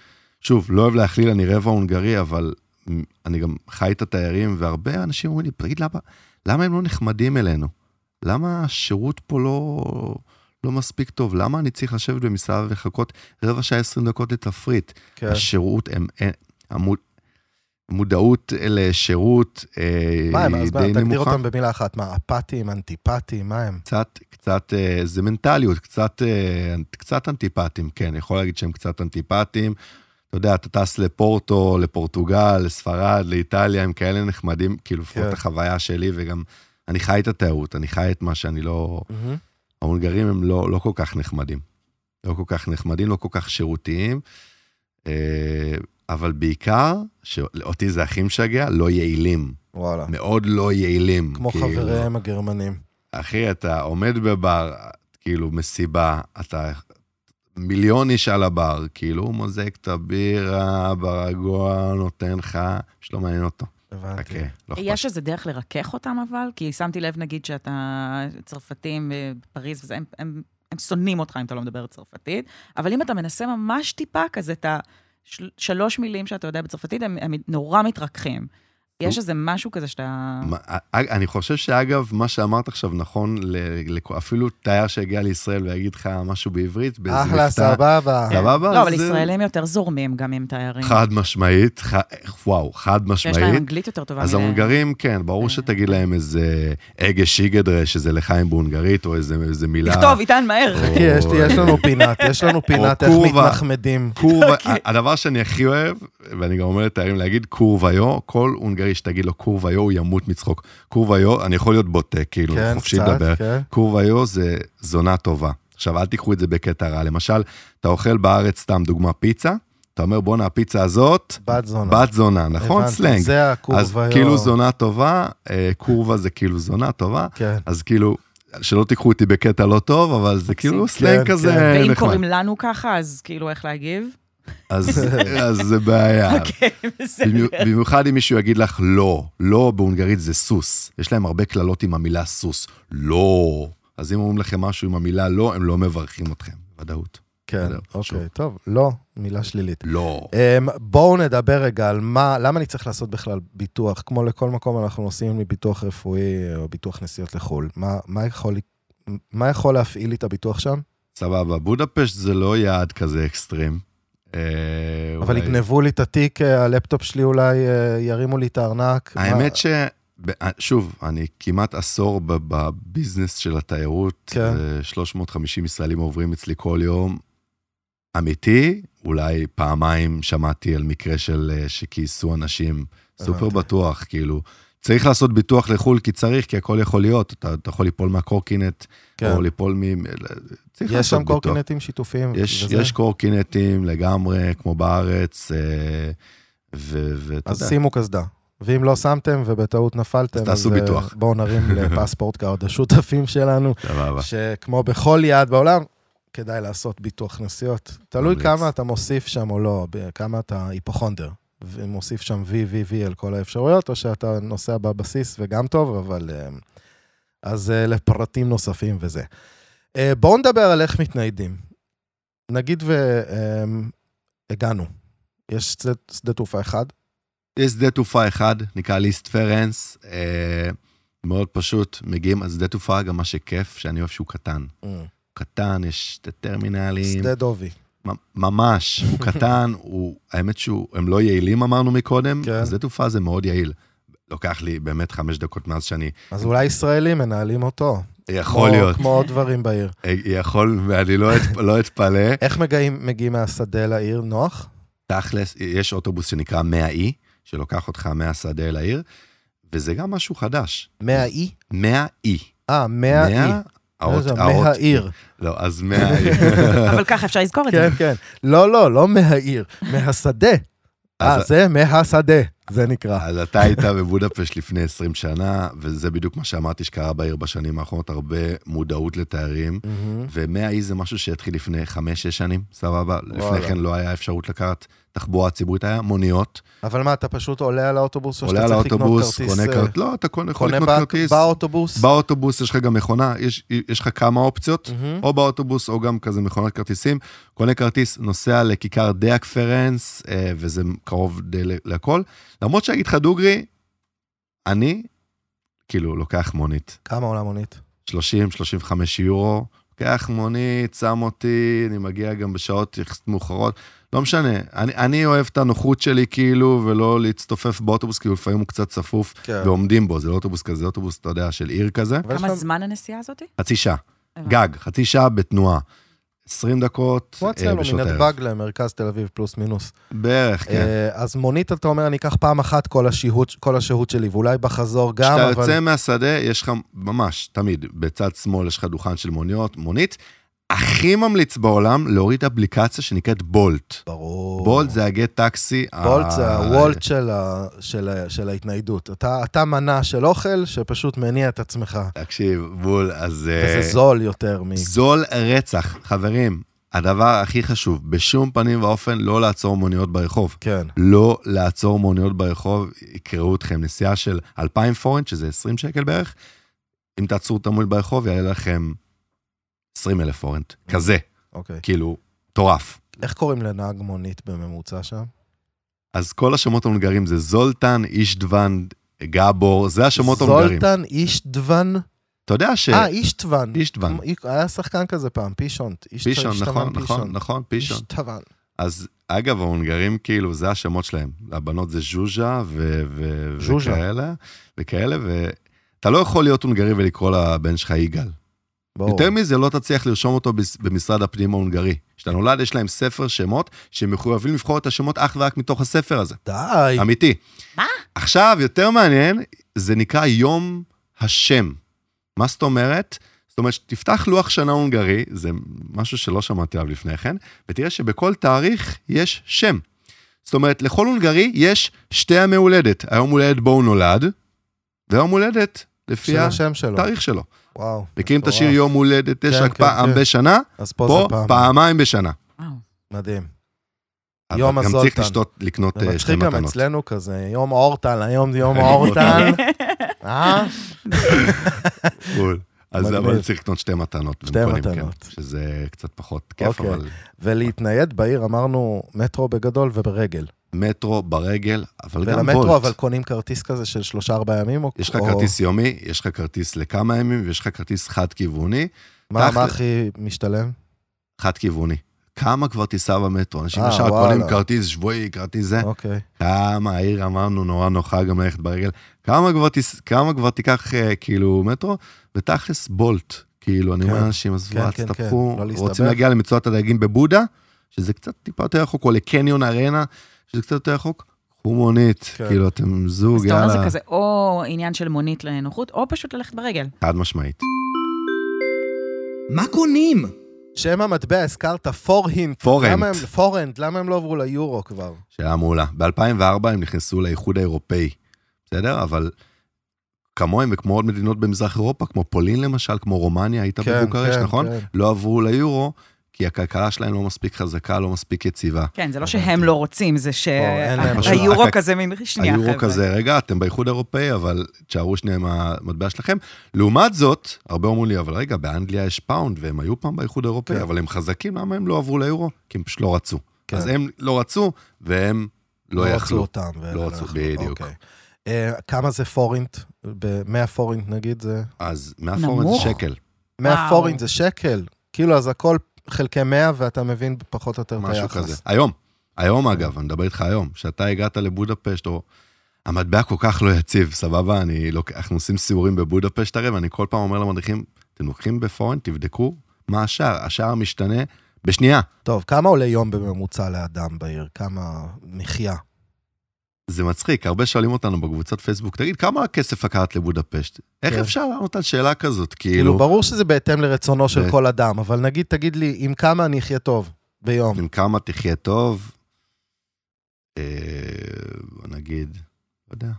שוב, לא אוהב להכליל, אני רבע הונגרי, אבל מ, אני גם חי את התיירים, והרבה אנשים אומרים לי, תגיד, למה, למה הם לא נחמדים אלינו? למה השירות פה לא, לא מספיק טוב? למה אני צריך לשבת במסעדה ולחכות רבע שעה, 20 דקות לתפריט? כן. השירות, הם, הם, המו- המודעות לשירות אה, מה הם? היא אז מה, די תגדיר נמוכה. אותם במילה אחת. מה, אפאתיים, אנטיפאתיים, מה הם? קצת, קצת, אה, זה מנטליות, קצת, אה, קצת אנטיפטיים, כן, אני יכול להגיד שהם קצת אנטיפטיים. אתה יודע, אתה טס לפורטו, לפורטוגל, לספרד, לאיטליה, הם כאלה נחמדים, כאילו, לפחות כן. החוויה שלי, וגם, אני חי את התיירות, אני חי את מה שאני לא... ההונגרים הם לא, לא כל כך נחמדים. לא כל כך נחמדים, לא כל כך שירותיים, אה, אבל בעיקר, שאותי זה הכי משגע, לא יעילים. וואלה. מאוד לא יעילים. כמו כאילו. חבריהם הגרמנים. אחי, אתה עומד בבר, כאילו, מסיבה, אתה מיליון איש על הבר, כאילו, הוא מוזג את הבירה, ברגוע, נותן לך, שלא מעניין אותו. הבנתי. חכה, לא אכפת. יש איזה דרך לרכך אותם אבל? כי שמתי לב, נגיד, שאתה צרפתים אה, בפריז וזה, הם, הם, הם שונאים אותך אם אתה לא מדבר צרפתית, אבל אם אתה מנסה ממש טיפה כזה את השלוש מילים שאתה יודע בצרפתית, הם, הם נורא מתרככים. יש איזה משהו כזה שאתה... מה, אה, אני חושב שאגב, מה שאמרת עכשיו נכון, ל, לכ- אפילו תייר שיגיע לישראל ויגיד לך משהו בעברית, באיזה אחלה, מבטא- סבבה. סבבה? לא, אבל אז, אה, ישראלים יותר זורמים גם עם תיירים. חד משמעית, ח... וואו, חד יש להם אה, משמעית. אנגלית יותר טובה. אז מלה- ההונגרים, כן, ברור שתגיד להם איזה אגה שיגדרה, שזה לחיים בהונגרית, או איזה, איזה מילה... תכתוב, איתן, מהר. או- חכי, יש לי- יש לנו פינת, יש לנו פינת איך קורבה. מתנחמדים. קורבה, הדבר שאני הכי אוהב, ואני גם אומר לתיירים להגיד קורוויו, כל הונגרי שתגיד לו קורוויו, הוא ימות מצחוק. קורוויו, אני יכול להיות בוטה, כאילו, כן, חופשי קצת, לדבר. כן. קורוויו זה זונה טובה. עכשיו, אל תיקחו את זה בקטע רע. למשל, אתה אוכל בארץ, סתם דוגמה, פיצה, אתה אומר, בואנה, הפיצה הזאת, בת זונה. בת זונה, נכון? הבנתי, סלנג. זה הקורבה. אז כאילו זונה טובה, אה, קורבה זה כאילו זונה טובה, כן. אז כאילו, שלא תיקחו אותי בקטע לא טוב, אבל זה כאילו מקסים. סלנג כן, כזה כן. ואם נחמד. קוראים לנו ככה, אז כאילו, איך להגיב? אז אז זה בעיה. אוקיי, בסדר. במיוחד- במיוחד אם מישהו יגיד לך לא, לא בהונגרית זה סוס. יש להם הרבה קללות עם המילה סוס. לא. אז אם אומרים לכם משהו עם המילה לא, הם לא מברכים אתכם, ודאות. כן, זהו, שוב. אוקיי, טוב, לא, מילה שלילית. לא. אמ, בואו נדבר רגע על מה, למה אני צריך לעשות בכלל ביטוח? כמו לכל מקום אנחנו עושים מביטוח רפואי או ביטוח נסיעות לחו"ל. מה- מה יכול לי- מה יכול להפעיל לי את הביטוח שם? סבבה, בודפשט זה לא יעד כזה אקסטרים. אה, אבל אולי- יגנבו לי את התיק, אה, הלפטופ שלי אולי, אה, ירימו לי את הארנק. האמת ש... ב- שוב, אני כמעט עשור ב- בביזנס של התיירות. כן. אה, 350 ישראלים עוברים אצלי כל יום. אמיתי, אולי פעמיים שמעתי על מקרה של אה, שכייסו אנשים. סופר הבנתי. בטוח, כאילו. צריך לעשות ביטוח לחו"ל כי צריך, כי הכל יכול להיות. אתה, אתה יכול ליפול מהקורקינט, כן. או ליפול מ... צריך יש שם לעשות ביטוח. קורקינטים שיתופיים. יש, וזה? יש קורקינטים לגמרי, כמו בארץ, אה, ו- ואתה אז יודע. שימו קסדה. ואם לא שמתם ובטעות נפלתם, אז תעשו אה, ביטוח. בואו נרים לפספורט קארד השותפים שלנו, סבבה. שכמו בכל יעד בעולם, כדאי לעשות ביטוח נסיעות. תלוי ממליץ. כמה אתה מוסיף שם או לא, ב- כמה אתה היפוכונדר. ומוסיף שם וי, וי, וי על כל האפשרויות, או שאתה נוסע בבסיס וגם טוב, אבל... אה, אז אה, לפרטים נוספים וזה. אה, בואו נדבר על איך מתניידים. נגיד והגענו. יש שדה- שדה תעופה אחד, יש שדה תעופה אחד, נקרא ליסט פרנס, אה, מאוד פשוט, מגיעים, אז שדה תעופה, גם מה שכיף, שאני אוהב שהוא קטן. הוא קטן, יש שתי טרמינלים, שדה דובי. מ- ממש, הוא קטן, הוא, האמת שהוא, הם לא יעילים אמרנו מקודם, כן. אז שדה תעופה זה מאוד יעיל. לוקח לי באמת חמש דקות מאז שאני, אז אולי ישראלים מנהלים אותו. יכול כמו- להיות, כמו עוד דברים בעיר. אה, יכול, ואני לא את- לא אתפלא. איך מגיעים מגיעים מהשדה לעיר? נוח? תכלס, יש אוטובוס שנקרא 100 אי, שלוקח אותך מהשדה אל העיר, וזה גם משהו חדש. 100 אי? 100 אי. אה, 100 אי. האות, רגע, האות. מהעיר. לא, אז מהעיר. אבל ככה אפשר לזכור את זה. כן, כן. לא, לא, לא מהעיר, מהשדה. אה, אז, אה. זה מהשדה, זה נקרא. אז אתה היית בבודפשט לפני 20 שנה, וזה בדיוק מה שאמרתי שקרה בעיר בשנים האחרונות, הרבה מודעות לתיירים. מהמם. ומאה אי זה משהו שהתחיל לפני 5-6 שנים, סבבה? לפני וואלה. כן לא היה אפשרות לקחת תחבורה ציבורית, היה מוניות. אבל מה, אתה פשוט עולה על האוטובוס או עולה שאתה על צריך לקנות האוטובוס, כרטיס? קונה אה, כרטיס, לא, אתה קונה- יכול קונה לקנות בא- כרטיס. באוטובוס? באוטובוס יש לך גם מכונה, יש, יש לך כמה אופציות, מהמם. או באוטובוס או גם כזה מכונת כרטיסים. קונה כרטיס, נוסע לכיכר דיאק פרנס, אה, וזה קרוב די ל- לכל. למרות שאגיד לך דוגרי, אני כאילו לוקח מונית, כמה עולה מונית? 30-35 יורו, לוקח מונית, שם אותי, אני מגיע גם בשעות יחסית מאוחרות. לא משנה, אני, אני אוהב את הנוחות שלי כאילו, ולא להצטופף באוטובוס, כאילו לפעמים הוא קצת צפוף, כן. ועומדים בו, זה לא אוטובוס כזה, זה אוטובוס, אתה יודע, של עיר כזה. אבל יש כמה לך- זמן הנסיעה הזאת? חצי שעה. הבנתי. גג, חצי שעה בתנועה. 20 דקות כמו אה, אצלנו, בשעות הערב. מנתב"ג למרכז תל אביב פלוס מינוס. בערך, כן. אה, אז מונית, אתה אומר, אני אקח פעם אחת כל השהות- כל השהות שלי, ואולי בחזור גם, כשאתה אבל... יוצא מהשדה, יש לך ממש, תמיד, בצד שמאל יש לך דוכן של מוניות, מונית. הכי ממליץ בעולם להוריד אפליקציה שנקראת בולט. ברור. בולט זה הגט טקסי. ה- וולט זה הוולט של, ה, של, ה, של ההתניידות. אתה, אתה מנה של אוכל שפשוט מניע את עצמך. אה, תקשיב, בול, אז... אה, וזה זול יותר מ... זול רצח. חברים, הדבר הכי חשוב, בשום פנים ואופן לא לעצור מוניות ברחוב. כן. לא לעצור מוניות ברחוב, יקראו אתכם נסיעה של 2,000 פורנט, שזה 20 שקל בערך. אם תעצרו את המונית ברחוב, יעלה לכם 20 אלף פורנט. כזה, אוקיי. כאילו, מטורף. איך קוראים לנהג מונית בממוצע שם? אז כל השמות ההונגרים זה זולטן, אישדוון, גבור, זה השמות ההונגרים. זולטן אישטוון? אתה יודע ש... אה, אישטוון. אישטוון. היה שחקן כזה פעם, פישונט. אישט- פישון, אישטוון, נכון, נכון, פישונט. נכון, פישון. אישטוון. אז אגב, ההונגרים, כאילו, זה השמות שלהם. הבנות זה ז'וז'ה ו- ו- ז'וז'ה. וכאלה, וכאלה, ואתה לא יכול להיות הונגרי ולקרוא לבן שלך יגאל. ברור. יותר מזה, לא תצליח לרשום אותו בס- במשרד הפנים ההונגרי. כשאתה נולד, יש להם ספר שמות, שהם מחויבים לבחור את השמות אך ורק מתוך הספר הזה. די. אמיתי. מה? עכשיו, יותר מעניין, זה נקרא יום השם. מה זאת אומרת? זאת אומרת, תפתח לוח שנה הונגרי, זה משהו שלא שמעתי עליו לפני כן, ותראה שבכל תאריך יש שם. זאת אומרת, לכל הונגרי יש שתי ימי הולדת. היום הולדת בו הוא נולד, והיום הולדת לפי של השם שלו. התאריך שלו. וואו. מכירים את מטורף. השיר יום הולדת, יש כן, רק כן, פעם כן. בשנה, אז פה פה זה פעם. פעמיים בשנה. וואו. מדהים. אבל יום גם צריך הזולטן. לשתות, לקנות זה אה, שתי מצחיק גם מתנות. אצלנו כזה, יום אורטל, היום יום אורטל. אה? בול. אז מגניב. אבל צריך לקנות שתי מתנות. שתי במקום, כן, מתנות. שזה קצת פחות כיף, אוקיי. אבל ולהתנייד בעיר, אמרנו, מטרו בגדול וברגל. מטרו ברגל, אבל גם ולמטרו אבל בולט. קונים כרטיס כזה של שלושה-ארבעה ימים? או- יש לך או- כרטיס יומי, יש לך כרטיס לכמה ימים, ויש לך כרטיס חד-כיווני. מה תכל'ס. מה הכי משתלם? חד-כיווני. כמה כבר תיסע במטרו? אנשים אה, ישר וואלה. קונים כרטיס שבועי, כרטיס זה. אוקיי. כמה העיר אמרנו נורא נוחה גם ללכת ברגל, כמה כבר, תס... כמה כבר תיקח אה, כאילו מטרו, ותכלס בולט, כאילו, אני אומר כן. לאנשים, עזבו, כן, אל כן, כן, תסתבכו, לא להסתבך. רוצים להגיע למצואת הדייגים בבודה, שזה קצת טיפה יותר רחוק, או לקניון ארנה, שזה קצת יותר רחוק, קחו מונית, כן. כאילו, אתם זוג, אז אתה אומר זה יאללה, כזה או עניין של מונית לנוחות, או פשוט ללכת ברגל. חד משמעית. מה קונים? שם המטבע הזכרת פורהינט. Forint. פורנט, למה הם לא עברו ליורו כבר? שאלה מעולה. ב-2004 הם נכנסו לאיחוד האירופאי, בסדר? אבל כמוהם וכמו עוד מדינות במזרח אירופה, כמו פולין למשל, כמו רומניה, הייתה כן, בבוקרשט, כן, נכון? כן. לא עברו ליורו, כי הכלכלה שלהם לא מספיק חזקה, לא מספיק יציבה. כן, זה לא שהם לא רוצים, זה אין להם פשוט- שהיורו רק- כזה מין... שנייה, היורו חבר'ה. כזה, רגע, אתם באיחוד האירופאי, אבל תשארו שנייה עם המטבע שלכם. לעומת זאת, הרבה אומרים לי, אבל רגע, באנגליה יש פאונד, והם היו פעם באיחוד האירופאי, כן. אבל הם חזקים, למה הם לא עברו ליורו? כי הם פשוט לא רצו. כן. אז הם לא רצו, והם לא רצו יכלו. אותם. ואלה לא רצו, יכלו, בדיוק. אוקיי. אה, כמה זה פורינט? ב-100 פורינט נגיד זה? אז מהפורנט נמוך. שקל. 100 וואו. פורינט זה שקל. כאילו, אז הכל חלקי 100 ואתה מבין פחות או יותר את היחס. משהו כזה. היום, היום אגב, אני מדבר איתך היום, שאתה הגעת לבודפשט, או... המטבע כל כך לא יציב, סבבה? אני לוק... אנחנו עושים סיורים בבודפשט הרי, ואני כל פעם אומר למדריכים, אתם לוקחים בפורן, תבדקו מה השער, השער משתנה בשנייה. טוב, כמה עולה יום בממוצע לאדם בעיר? כמה מחיה? זה מצחיק, הרבה שואלים אותנו בקבוצת פייסבוק, תגיד, כמה כסף לקחת לבודפשט? איך כן. אפשר לענות על שאלה כזאת? כאילו, כאילו, ברור שזה בהתאם לרצונו של ב- כל אדם, אבל נגיד, תגיד לי, עם כמה אני אחיה טוב ביום? עם כמה תחיה טוב, אה, בוא נגיד, לא יודע,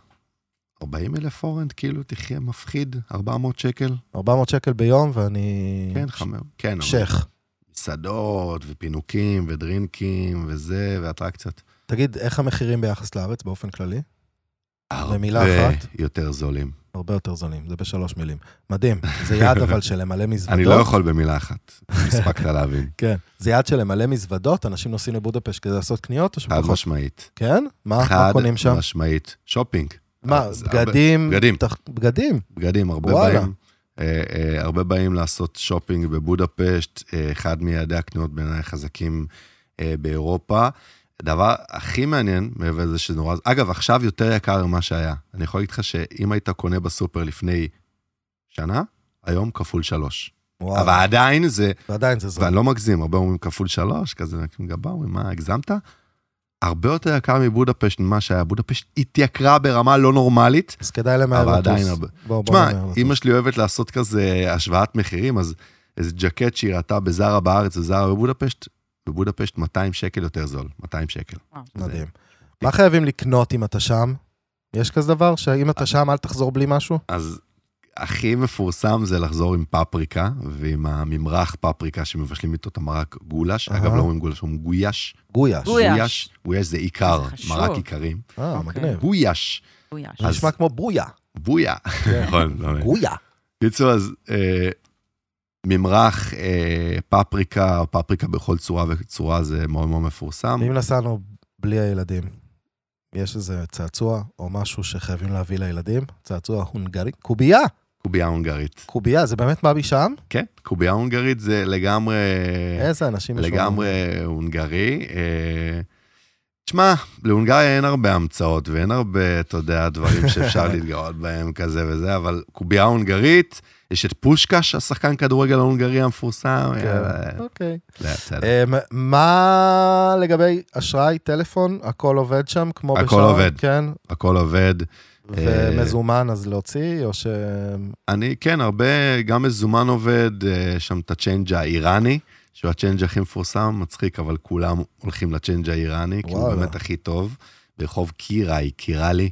40 אלף פורנט, כאילו, תחיה מפחיד, 400 שקל. 400 שקל ביום ואני... כן, חמור. כן, אבל שייח. מסעדות, ופינוקים, ודרינקים, וזה, ואטרקציות. תגיד, איך המחירים ביחס לארץ באופן כללי? במילה הרבה אחת. יותר זולים. הרבה יותר זולים, זה בשלוש מילים. מדהים. זה יעד אבל של למלא מזוודות. אני לא יכול במילה אחת, הספקת להבין. כן. זה יעד של למלא מזוודות? אנשים נוסעים לבודפשט כדי לעשות קניות או חד שפחות? משמעית. כן? מה מה חד קונים שם? משמעית. שופינג. מה, אז הרבה- בגדים? בגדים. תח- בגדים. בגדים, הרבה וואלה. באים. אה, אה, הרבה באים לעשות שופינג בבודפשט, אה, אחד מיעדי הקניות בעיניי החזקים אה, באירופה. הדבר הכי מעניין מעבר לזה שזה נורא... אגב, עכשיו יותר יקר ממה שהיה. אני יכול להגיד לך שאם היית קונה בסופר לפני שנה, היום כפול שלוש. וואו, אבל עדיין זה, ועדיין זה זול. ואני לא מגזים, הרבה אומרים כפול שלוש, כזה מקים גבה, אומרים, מה, הגזמת? הרבה יותר יקר מבודפשט ממה שהיה. בודפשט התייקרה ברמה לא נורמלית. אז כדאי למהר אבל לטוס. עדיין הרבה. בוא, בוא תשמע, נמהר לטוס. אימא שלי אוהבת לעשות כזה השוואת מחירים, אז איזה ג'קט שהיא ראתה בזארה בארץ וזארה בבודפשט, בבודפשט 200 שקל יותר זול, 200 שקל. וואו. מדהים. מה חייבים לקנות אם אתה שם? יש כזה דבר שאם אתה שם אל תחזור בלי משהו? אז הכי מפורסם זה לחזור עם פפריקה, ועם הממרח פפריקה שמבשלים איתו את המרק גולש. אהה. אגב, לא אומרים גולש, אומרים גויש. גויאש. גויאש. גויש זה עיקר, זה חשוב. מרק עיקרים. אה, אוקיי. מגניב. גויש, הוא יאש. זה אז- נשמע כמו ברויה. בויה. נכון, לא מבין. גויה. קיצור, אז אה, ממרח, אה, פפריקה, פפריקה בכל צורה וצורה זה מאוד מאוד מפורסם. אם נסענו בלי הילדים, יש איזה צעצוע או משהו שחייבים להביא לילדים, צעצוע הונגרי, קובייה, קובייה הונגרית. קובייה, זה באמת בא משם? כן, קובייה הונגרית זה לגמרי... איזה אנשים יש לנו. כן. לגמרי הונגרי. אה, תשמע, להונגריה אין הרבה המצאות ואין הרבה, אתה יודע, דברים שאפשר להתגאות בהם כזה וזה, אבל קובייה הונגרית, יש את פושקש, השחקן כדורגל ההונגרי המפורסם. כן. יאללה, אוקיי. לאט, לאט. אמ, מה לגבי אשראי, טלפון, הכל עובד שם כמו הכל בשעון? עובד. כן, הכל עובד. אה, ומזומן אז להוציא, או ש... אני, כן, הרבה, גם מזומן עובד, אה, שם את הצ'יינג' האיראני, שהוא הצ'יינג' הכי מפורסם, מצחיק, אבל כולם הולכים לצ'יינג' האיראני, כי הוא וואלה. באמת הכי טוב, ברחוב קיראי, קיראלי,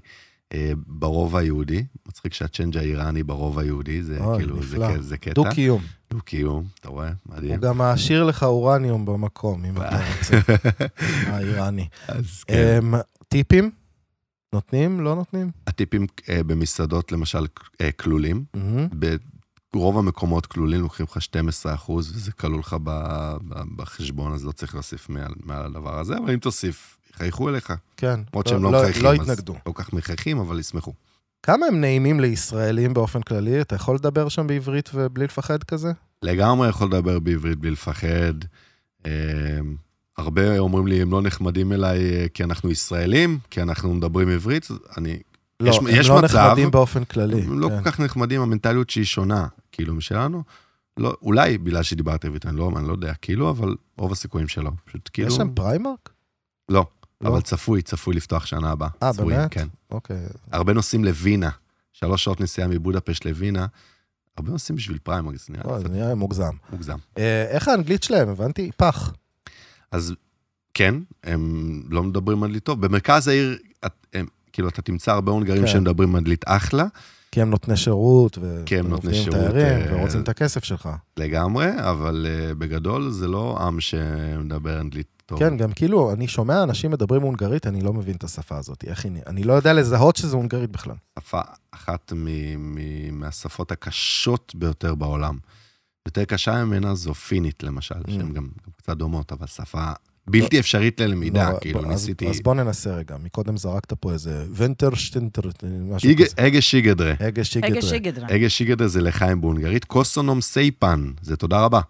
אה, ברובע היהודי. מצחיק שהצ'יינג' האיראני ברובע היהודי, זה אוי, כאילו, זה נפלא. ק- זה קטע. דו-קיום. דו-קיום, אתה רואה? מדהים. הוא גם מעשיר לך אורניום במקום, אם אתה רוצה, האיראני. אז כן. אמ, טיפים? נותנים? לא נותנים? הטיפים אה, במסעדות, למשל, אה, כלולים. מהמם. ברוב המקומות כלולים, לוקחים לך 12 אחוז, וזה כלול לך ב- ב- בחשבון, אז לא צריך להוסיף מעל, מעל הדבר הזה, אבל אם תוסיף, יחייכו אליך. כן. למרות שהם לא, מחייכים, לא אז התנגדו. לא כל כך מחייכים, אבל ישמחו. כמה הם נעימים לישראלים באופן כללי? אתה יכול לדבר שם בעברית ובלי לפחד כזה? לגמרי יכול לדבר בעברית בלי לפחד. אה, הרבה אומרים לי, הם לא נחמדים אליי אה, כי אנחנו ישראלים, כי אנחנו מדברים עברית, אז אני... לא, יש- הם יש לא מצב- נחמדים באופן כללי. הם לא כן. כל כך נחמדים, המנטליות שהיא שונה, כאילו, משלנו. לא, אולי בגלל שדיברתי עברית, אני לא, אני לא יודע, כאילו, אבל רוב הסיכויים שלא. פשוט כאילו... יש שם פריימרק? לא, לא? אבל צפוי, צפוי לפתוח שנה הבאה. אה, צפוי, באמת? כן. אוקיי. הרבה נוסעים לווינה, שלוש שעות נסיעה מבודפשט לווינה, הרבה נוסעים בשביל פריימריז, זה נראה לא, לי זה קצת נראה מוגזם. מוגזם. אה, איך האנגלית שלהם? הבנתי? פח. אז כן, הם לא מדברים אנגלית טוב. במרכז העיר, את- הם- כאילו, אתה תמצא הרבה הונגרים כן. שמדברים אנגלית אחלה כי הם נותני שירות, ו- כי הם נותני ועובדים עם שירות, תיירים, אה, ורוצים את הכסף שלך. לגמרי, אבל אה, בגדול זה לא עם שמדבר אנגלית טוב. כן, גם כאילו, אני שומע אנשים מדברים הונגרית, אני לא מבין את השפה הזאת. איך היא... נ- אני לא יודע לזהות שזה הונגרית בכלל. שפה אחת מ- מ- מהשפות הקשות ביותר בעולם. יותר קשה ממנה זו פינית, למשל, Mm. שהן גם גם קצת דומות, אבל שפה בלתי אפשרית ללמידה, לא, כאילו, בוא- אז- ניסיתי... אז בוא ננסה רגע. מקודם זרקת פה איזה ונטרשטינטר, משהו איג- כזה. הגה שיגדרה. הגה שיגדרה. רגע שיגדרה. הגה שיגדרה זה לחיים בהונגרית. קוסונום סייפן, זה תודה רבה.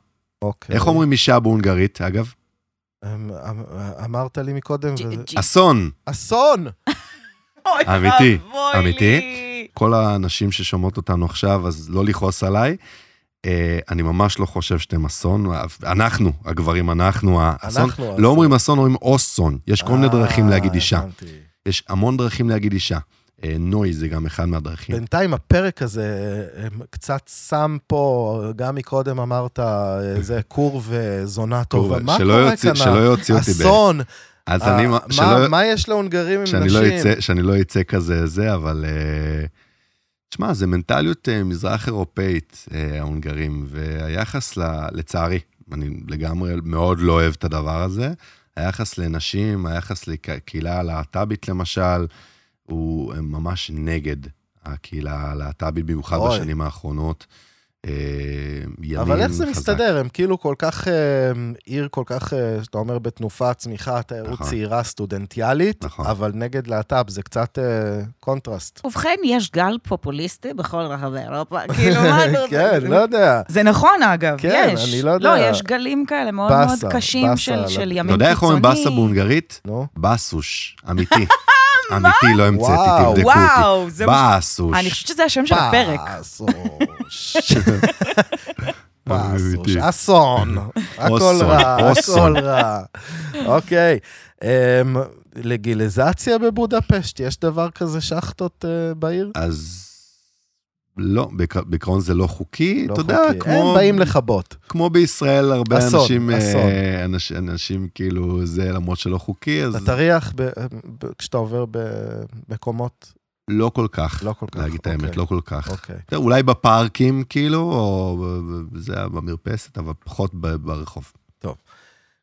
אוקיי. איך אומרים אישה בהונגרית, אגב? אמ- אמ- אמרת לי מקודם, ג'י- וזה- ג'י- אסון! אסון! אוי אמיתי, ואבוי אמיתי. לי. כל הנשים ששומעות אותנו עכשיו, אז לא לכעוס עליי. אה, אני ממש לא חושב שאתם אסון, אנחנו, הגברים, אנחנו האסון. אנחנו האסון. לא אומרים אסון, אומרים אוסון. יש כל מיני דרכים אה, להגיד אישה. הבנתי. יש המון דרכים להגיד אישה. אה, נוי זה גם אחד מהדרכים. בינתיים הפרק הזה אה, הם קצת שם פה, גם מקודם אמרת, אה, זה קור וזונה טובה. מה שלא קורה יוציא- כאן? שלא יוציא אותי. ב- אסון. אז אה, אני... מה- שלא- מה יש להונגרים עם שאני לא נשים? אצא, שאני לא אצא כזה זה, אבל... אה, תשמע, זה מנטליות אה, מזרח אירופאית, אה, ההונגרים, והיחס, ל, לצערי, אני לגמרי מאוד לא אוהב את הדבר הזה, היחס לנשים, היחס לקהילה הלהט"בית למשל, הוא הם ממש נגד הקהילה הלהט"בית, במיוחד אוי. בשנים האחרונות. אה, ימין אבל איך זה חזק. מסתדר? הם כאילו כל כך, אה, עיר כל כך, אה, שאתה אומר, בתנופה, צמיחה, תיירות נכון. צעירה, סטודנטיאלית, נכון. אבל נגד להט"ב זה קצת אה, קונטרסט. ובכן, יש גל פופוליסטי בכל רחבי אירופה. כאילו, מה אתה רוצה? כן, לא יודע. זה נכון, אגב, כן, יש. אני לא יודע. לא, יש גלים כאלה מאוד באסה, מאוד קשים באסה של עליו. של ימין אתה קיצוני. יודע איך אומרים באסה בהונגרית? נו. בסוש, אמיתי. אמיתי, לא המצאתי, וואו. תבדקו אותי. וואו, זה... מה- באסוש. אני חושבת שזה השם של הפרק. פסוש. פסוש. אמיתי. אסון. הכל אוסון, רע, אוסון. הכל רע. אוקיי. אמ, לגיליזציה בבודפשט, יש דבר כזה שחטות אה, בעיר? אז לא, בעק- בעיקרון זה לא חוקי, אתה יודע, חוקי. הם כמו- באים לכבות. כמו בישראל, הרבה אסון, אנשים, אה, אסון. אנש- אנשים כאילו זה, למרות שלא חוקי, אתה אז תריח ב- ב- כשאתה עובר במקומות, לא כל כך, לא כל כך. להגיד את האמת, אוקיי. לא כל כך. אוקיי. אתה יודע, אולי בפארקים, כאילו, או ב- ב- זה במרפסת, אבל פחות ב- ברחוב.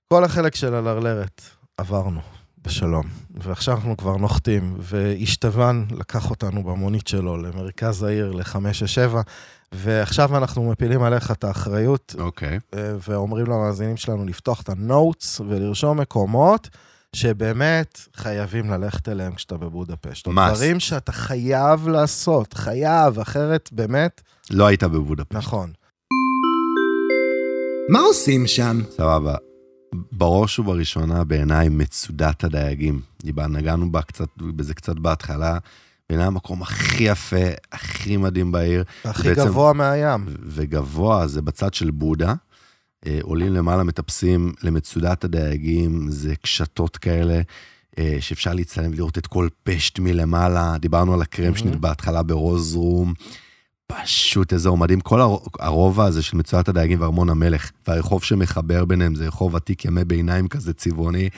כל החלק של הלרלרת עברנו בשלום, ועכשיו אנחנו כבר נוחתים, ואישתוון לקח אותנו במונית שלו למרכז העיר, ל-567, ועכשיו אנחנו מפילים עליך את האחריות, אוקיי. אה, ואומרים למאזינים שלנו לפתוח את הנוטס ולרשום מקומות שבאמת חייבים ללכת אליהם כשאתה בבודפשט. Must. דברים שאתה חייב לעשות, חייב, אחרת באמת, לא היית בבודפשט. נכון. מה עושים שם? סבבה. בראש ובראשונה, בעיניי, מצודת הדייגים. דיבר- נגענו בה קצת, בזה קצת בהתחלה. בעיניי המקום הכי יפה, הכי מדהים בעיר, הכי בעצם- גבוה מהים. וגבוה, זה בצד של בודה. אה, עולים למעלה, מטפסים למצודת הדייגים, זה קשתות כאלה, אה, שאפשר להצטלם ולראות את כל פשט מלמעלה. דיברנו על הקרם שנית בהתחלה ברוז רום. פשוט אזור מדהים. כל הר- הרובע הזה של מצודת הדייגים וארמון המלך, והרחוב שמחבר ביניהם, זה רחוב עתיק ימי ביניים כזה צבעוני.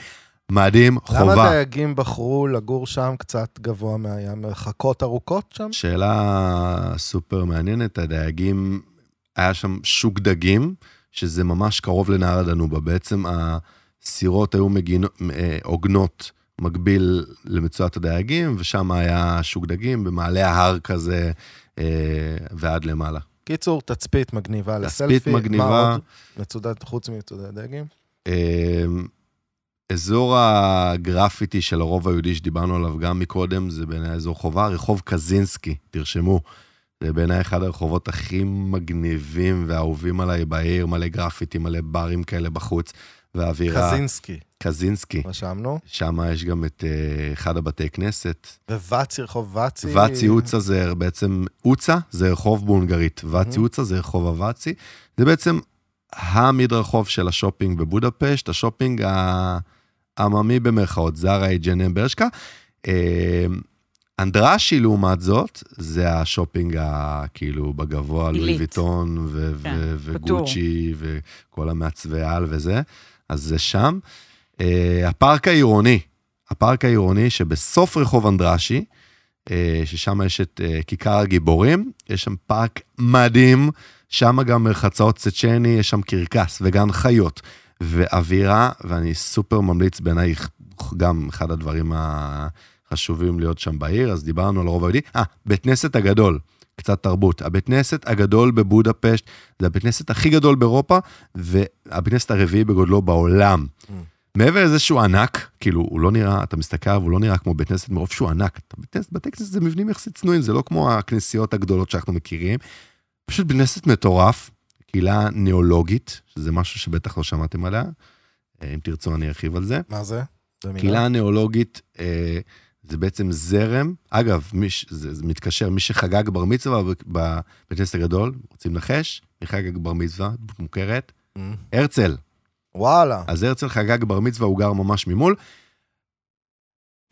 מדהים, למה חובה. דייגים בחרו לגור שם קצת גבוה מהים? מרחקות ארוכות שם? שאלה סופר מעניינת, הדייגים, היה שם שוק דגים, שזה ממש קרוב לנהר הדנובה. בעצם הסירות היו מגינו- אה, עוגנות מקביל למצואת הדייגים, ושם היה שוק דגים במעלה ההר כזה אה, ועד למעלה. קיצור, תצפית מגניבה תצפית לסלפי. מה מגניבה. עוד? מצודת, חוץ ממצודת דייגים? אה, אזור הגרפיטי של הרוב היהודי שדיברנו עליו גם מקודם, זה בעיניי אזור חובה, רחוב קזינסקי, תרשמו. זה בעיניי אחד הרחובות הכי מגניבים ואהובים עליי בעיר, מלא גרפיטי, מלא ברים כאלה בחוץ, והאווירה... קזינסקי, קזינסקי. רשמנו. שם יש גם את אה, אחד הבתי כנסת. ווואצי, רחוב ואצי. ואצי אוצה זה בעצם, אוצה זה רחוב בהונגרית, ואצי אוצה זה רחוב הוואצי. זה בעצם המדרחוב של השופינג בבודפשט, השופינג העממי במרכאות, זרה ג'נם ברשקה. אה, אנדרשי, לעומת זאת, זה השופינג הכאילו בגבוה, לואי עילית. ויטון ו- כן, ו- פטור. וגוצ'י וכל המעצבי על וזה, אז זה שם. אה, הפארק העירוני, הפארק העירוני שבסוף רחוב אנדרשי, אה, ששם יש את אה, כיכר הגיבורים, יש שם פארק מדהים, שם גם מרחצאות צצ'ני, יש שם קרקס וגן חיות ואווירה, ואני סופר ממליץ בעיניי, גם אחד הדברים החשובים להיות שם בעיר, אז דיברנו על הרוב היהודי. אה, בית כנסת הגדול, קצת תרבות. הבית כנסת הגדול בבודפשט, זה הבית כנסת הכי גדול באירופה, והבית כנסת הרביעי בגודלו בעולם. מעבר לזה שהוא ענק, כאילו, הוא לא נראה, אתה מסתכל עליו, הוא לא נראה כמו בית כנסת מרוב שהוא ענק. בית כנסת, בתי כנסת זה מבנים יחסית צנועים, זה לא כמו הכנסיות הגדולות שאנחנו מכירים. פשוט בית כנסת מטורף, קהילה ניאולוגית, שזה משהו שבטח לא שמעתם עליה. אה, אם תרצו, אני ארחיב על זה. מה זה? זה מילה? קהילה ניאולוגית אה, זה בעצם זרם, אגב, מי, ש- זה, זה מתקשר, מי שחגג בר מצווה ב- בבית כנסת הגדול, רוצים לנחש, מי חגג בר מצווה, דמות מוכרת, Mm. הרצל. וואלה. אז הרצל חגג בר מצווה, הוא גר ממש ממול.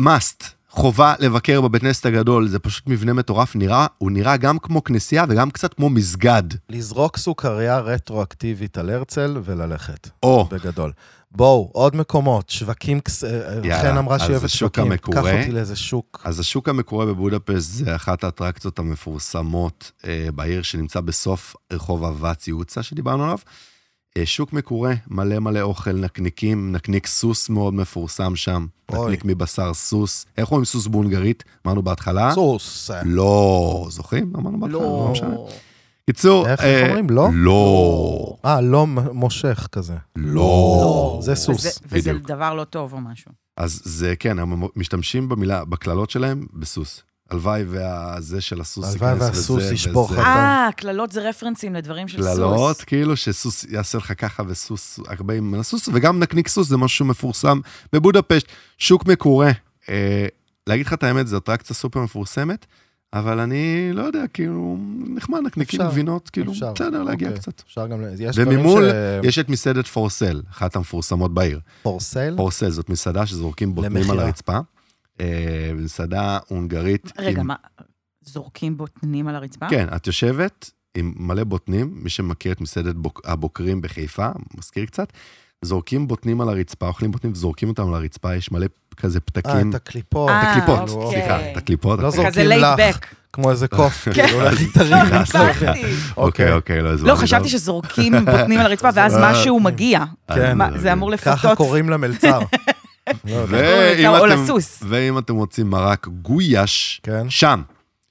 must, חובה לבקר בבית כנסת הגדול, זה פשוט מבנה מטורף, נראה, הוא נראה גם כמו כנסייה וגם קצת כמו מסגד. לזרוק סוכריה רטרואקטיבית על הרצל וללכת, או, בגדול. בואו, עוד מקומות, שווקים, כס- אה, יאללה, חן אמרה אז שהיא אוהבת זה שוק שווקים. המקורה. קח אותי לאיזה שוק. אז השוק המקורה בבודפשט זה אחת האטרקציות המפורסמות אה, בעיר שנמצא בסוף רחוב אבץ יוצא שדיברנו עליו. אה, שוק מקורה, מלא מלא אוכל, נקניקים, נקניק סוס מאוד מפורסם שם, אוי. נקניק מבשר סוס. איך אומרים סוס בהונגרית? אמרנו בהתחלה. סוס. אה. לא, זוכרים? אמרנו בהתחלה, לא משנה. לא. קיצור, איך אה, אומרים? לא? לא, אה, לא מ- מושך כזה. לא. זה סוס. וזה- וזה בדיוק. דבר לא טוב או משהו. אז זה, כן, הם משתמשים במילה, בקללות שלהם, בסוס. הלוואי והזה של הסוס הלוואי ייכנס והסוס וזה ישבור וזה. לך. אה, קללות זה רפרנסים לדברים של סוס. קללות, כאילו שסוס יעשה לך ככה וסוס, הרבה עם הסוס, וגם נקניק סוס זה משהו מפורסם בבודפשט, שוק מקורה. אה, להגיד לך את האמת, זו אטרקציה סופר מפורסמת, אבל אני לא יודע, כאילו, נחמד, נקניקים אפשר, גבינות, כאילו, אפשר. בסדר, להגיע אוקיי. כן. קצת. אפשר גם... ל- יש דברים וממול ש- יש את מסעדת פורסל, אחת המפורסמות בעיר. for sale? אה, פורסל זאת מסעדה שזורקים בוטנים על למכירה. הרצפה. אה, מסעדה הונגרית. רגע, עם- מה, זורקים בוטנים על הרצפה? כן, את יושבת עם מלא בוטנים, מי שמכיר את מסעדת בוק, הבוקרים בחיפה, מזכיר קצת, זורקים בוטנים על הרצפה, אוכלים בוטנים וזורקים אותם על הרצפה, יש מלא כזה אה, פתקים. את הקליפות. אה, את הקליפות, אוקיי. סליחה, כן. את הקליפות. לא את זה זורקים הקליפות. כזה לך. לייטבק. כמו איזה קוף, כאילו, אז- להגיד תרים. סליחה, סליחה. אוקיי. אוקיי, אוקיי, לא הסברתי. לא, חשבתי שזורקים בוטנים על הרצפה, ואז משהו מגיע. אה, כן. מה, זה אמור ככה לפתות. קוראים למלצר. לא יודע. ואם או אתם- לסוס. ואם אתם רוצים מרק גויאש, כן. שם,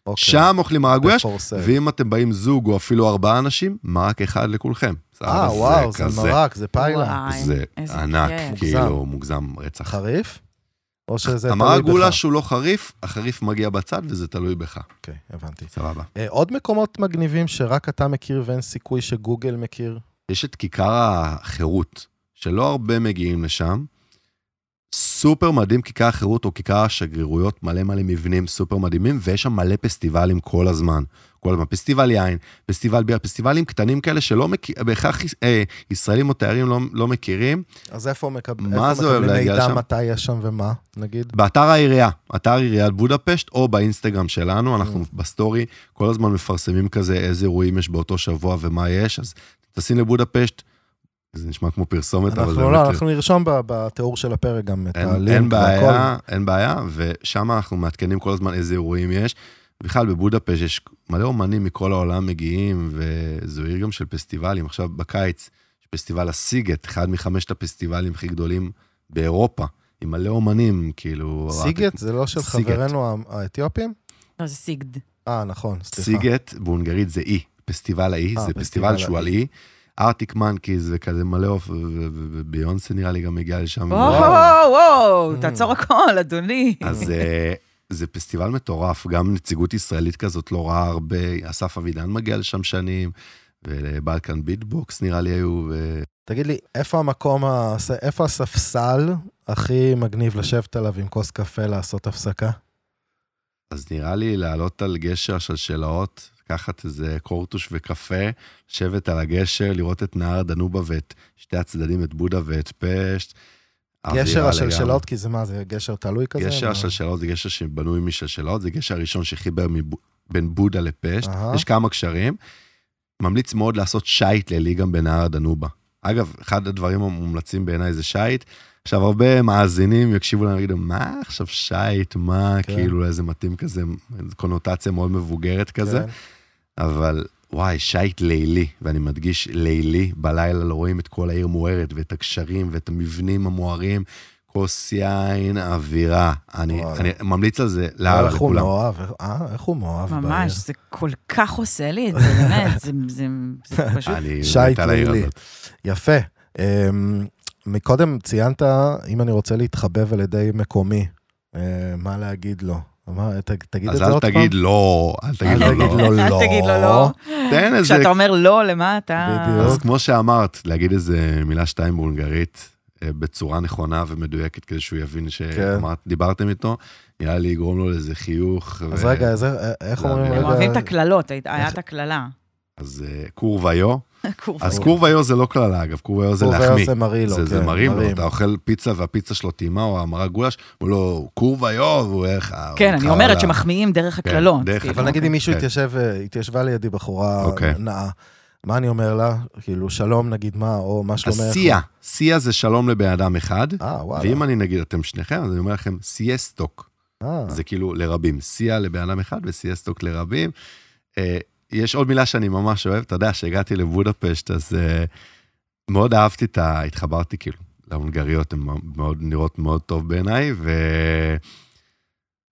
אוקיי. שם אוכלים מרק גויאש, בפורסל. ואם אתם באים זוג או אפילו ארבעה אנשים, מרק אחד לכולכם. אה, אבל וואו, זה כזה- מרק, זה פיילה. וואי, זה איזה ענק, כיף. כאילו, מוגזם רצח. חריף? או שזה תלוי בך? המרק גולש הוא לא חריף, החריף מגיע בצד וזה תלוי בך. אוקיי, הבנתי. סבבה. אה, עוד מקומות מגניבים שרק אתה מכיר ואין סיכוי שגוגל מכיר? יש את כיכר החירות, שלא הרבה מגיעים לשם. סופר מדהים, כיכר החירות או כיכר השגרירויות, מלא מלא מבנים סופר מדהימים, ויש שם מלא פסטיבלים כל הזמן. כל הזמן, פסטיבל יין, פסטיבל בירה, פסטיבלים קטנים כאלה שלא מכיר, בהכרח אה, ישראלים או תיירים לא, לא מכירים. אז איפה מקב- מה איפה זה אוהב מקבלים להגיע מידע לשם? מתי יש שם ומה, נגיד? באתר העירייה, אתר עיריית בודפשט, או באינסטגרם שלנו, Mm. אנחנו בסטורי כל הזמן מפרסמים כזה איזה אירועים יש באותו שבוע ומה יש, אז תשים לבודפשט, זה נשמע כמו פרסומת, אבל זה אנחנו באמת- לא, אנחנו נרשום ב- בתיאור של הפרק גם את אין, הלינק. אין בעיה, והכל. אין בעיה, ושם אנחנו מעדכנים כל הזמן איזה אירועים יש. בכלל בבודפשט יש מלא אומנים מכל העולם מגיעים, וזו עיר גם של פסטיבלים. עכשיו בקיץ, יש פסטיבל הסיגט, אחד מחמשת הפסטיבלים הכי גדולים באירופה, עם מלא אומנים, כאילו... סיגט זה לא של סיגט. חברינו הא- האתיופים? לא, זה סיגד. אה, נכון, סליחה. סיגט בהונגרית זה אי, פסטיבל האי, אה, זה פסטיבל פסטיבל שהוא על אי. ארטיק מנקיז וכזה מלא אוף, ו- ו- ו- וביונסה נראה לי גם הגיע לשם. וואו, וואו, Mm. תעצור הכל, אדוני. אז אה, זה פסטיבל מטורף, גם נציגות ישראלית כזאת לא רעה הרבה, אסף אבידן מגיע לשם שנים, ובלקן ביטבוקס נראה לי היו, ו... תגיד לי, איפה המקום, ה- איפה הספסל הכי מגניב לשבת עליו עם כוס קפה לעשות הפסקה? אז נראה לי לעלות על גשר השלשלאות, לקחת איזה קורטוש וקפה, לשבת על הגשר, לראות את נהר דנובה ואת שתי הצדדים, את בודה ואת פשט. גשר אווירה לגמרי. השלשלות, כי זה מה, זה גשר תלוי כזה? לא- גשר מה? השלשלאות זה גשר שבנוי משלשלאות, זה גשר הראשון שחיבר מבו- בין בודה לפשט. אהה. יש כמה קשרים. ממליץ מאוד לעשות שייט לילי גם בנהר הדנובה. אגב, אחד הדברים המומלצים בעיניי זה שייט. עכשיו, הרבה מאזינים יקשיבו לנו ויגידו, מה עכשיו שייט, מה, כן. כאילו, איזה מתאים כזה, איזו קונוטציה מאוד מבוגרת כזה. כן. אבל וואי, שייט לילי, ואני מדגיש לילי, בלילה לא רואים את כל העיר מוארת, ואת הגשרים, ואת המבנים המוארים, כוס יין, אווירה. אני, וואי. אני ממליץ על זה אבל לאללה איך הוא לכולם. מאוהב? אה, איך הוא מאוהב? ממש, בעיר? זה כל כך עושה לי את זה, באמת, זה- זה זה פשוט... אני מת שייט על העיר לילי. כאילו, הזאת. יפה. אמ, מקודם ציינת, אם אני רוצה להתחבב על ידי מקומי, אה, מה להגיד לו? אמר, ת- תגיד את אז זה אל עוד פעם. תגיד לא, אל תגיד אל לו תגיד לא. לו לא. אל תגיד לו לא. תן איזה... כשאתה אומר לא, למה אתה... בדיוק. אז כמו שאמרת, להגיד איזה מילה שתיים בהונגרית, אה, בצורה נכונה ומדויקת, כדי שהוא יבין כן. שדיברתם איתו, נראה לי יגרום לו לאיזה חיוך. אז ו- רגע, אז אה, איך לא, אומרים הם הם רגע? אוהבים את הקללות, היית- היה את הקללה. אז אה, קורוויו. קורוויו. אז קורוויו זה לא קללה, אגב, קורוויו זה הוא להחמיא. זה מרעיל לו, זה, זה כן, מרים לו, מרים. אתה אוכל פיצה והפיצה שלו טעימה, או המרה גולש, הוא לא קור ויוב, הוא איך... כן, אני אומרת שמח... שמחמיאים דרך כן, הקללות. דרך כאילו. אבל נגיד אם מישהו כן. התיישב, אה, התיישבה לידי בחורה אוקיי. נאה, מה אני אומר לה? כאילו, שלום נגיד מה, או מה אז שלומך? סיה, סיה זה שלום לבן אדם אחד, אה, וואלה. ואם אני נגיד אתם שניכם, אז אני אומר לכם סייסטוק, אה, זה כאילו לרבים. סיה לבן אדם אחד וסייסטוק לרבים. אה, יש עוד מילה שאני ממש אוהב, אתה יודע, כשהגעתי לבודפשט, אז אה, מאוד אהבתי את ה... התחברתי כאילו להונגריות, הן מאוד נראות מאוד טוב בעיניי, ו...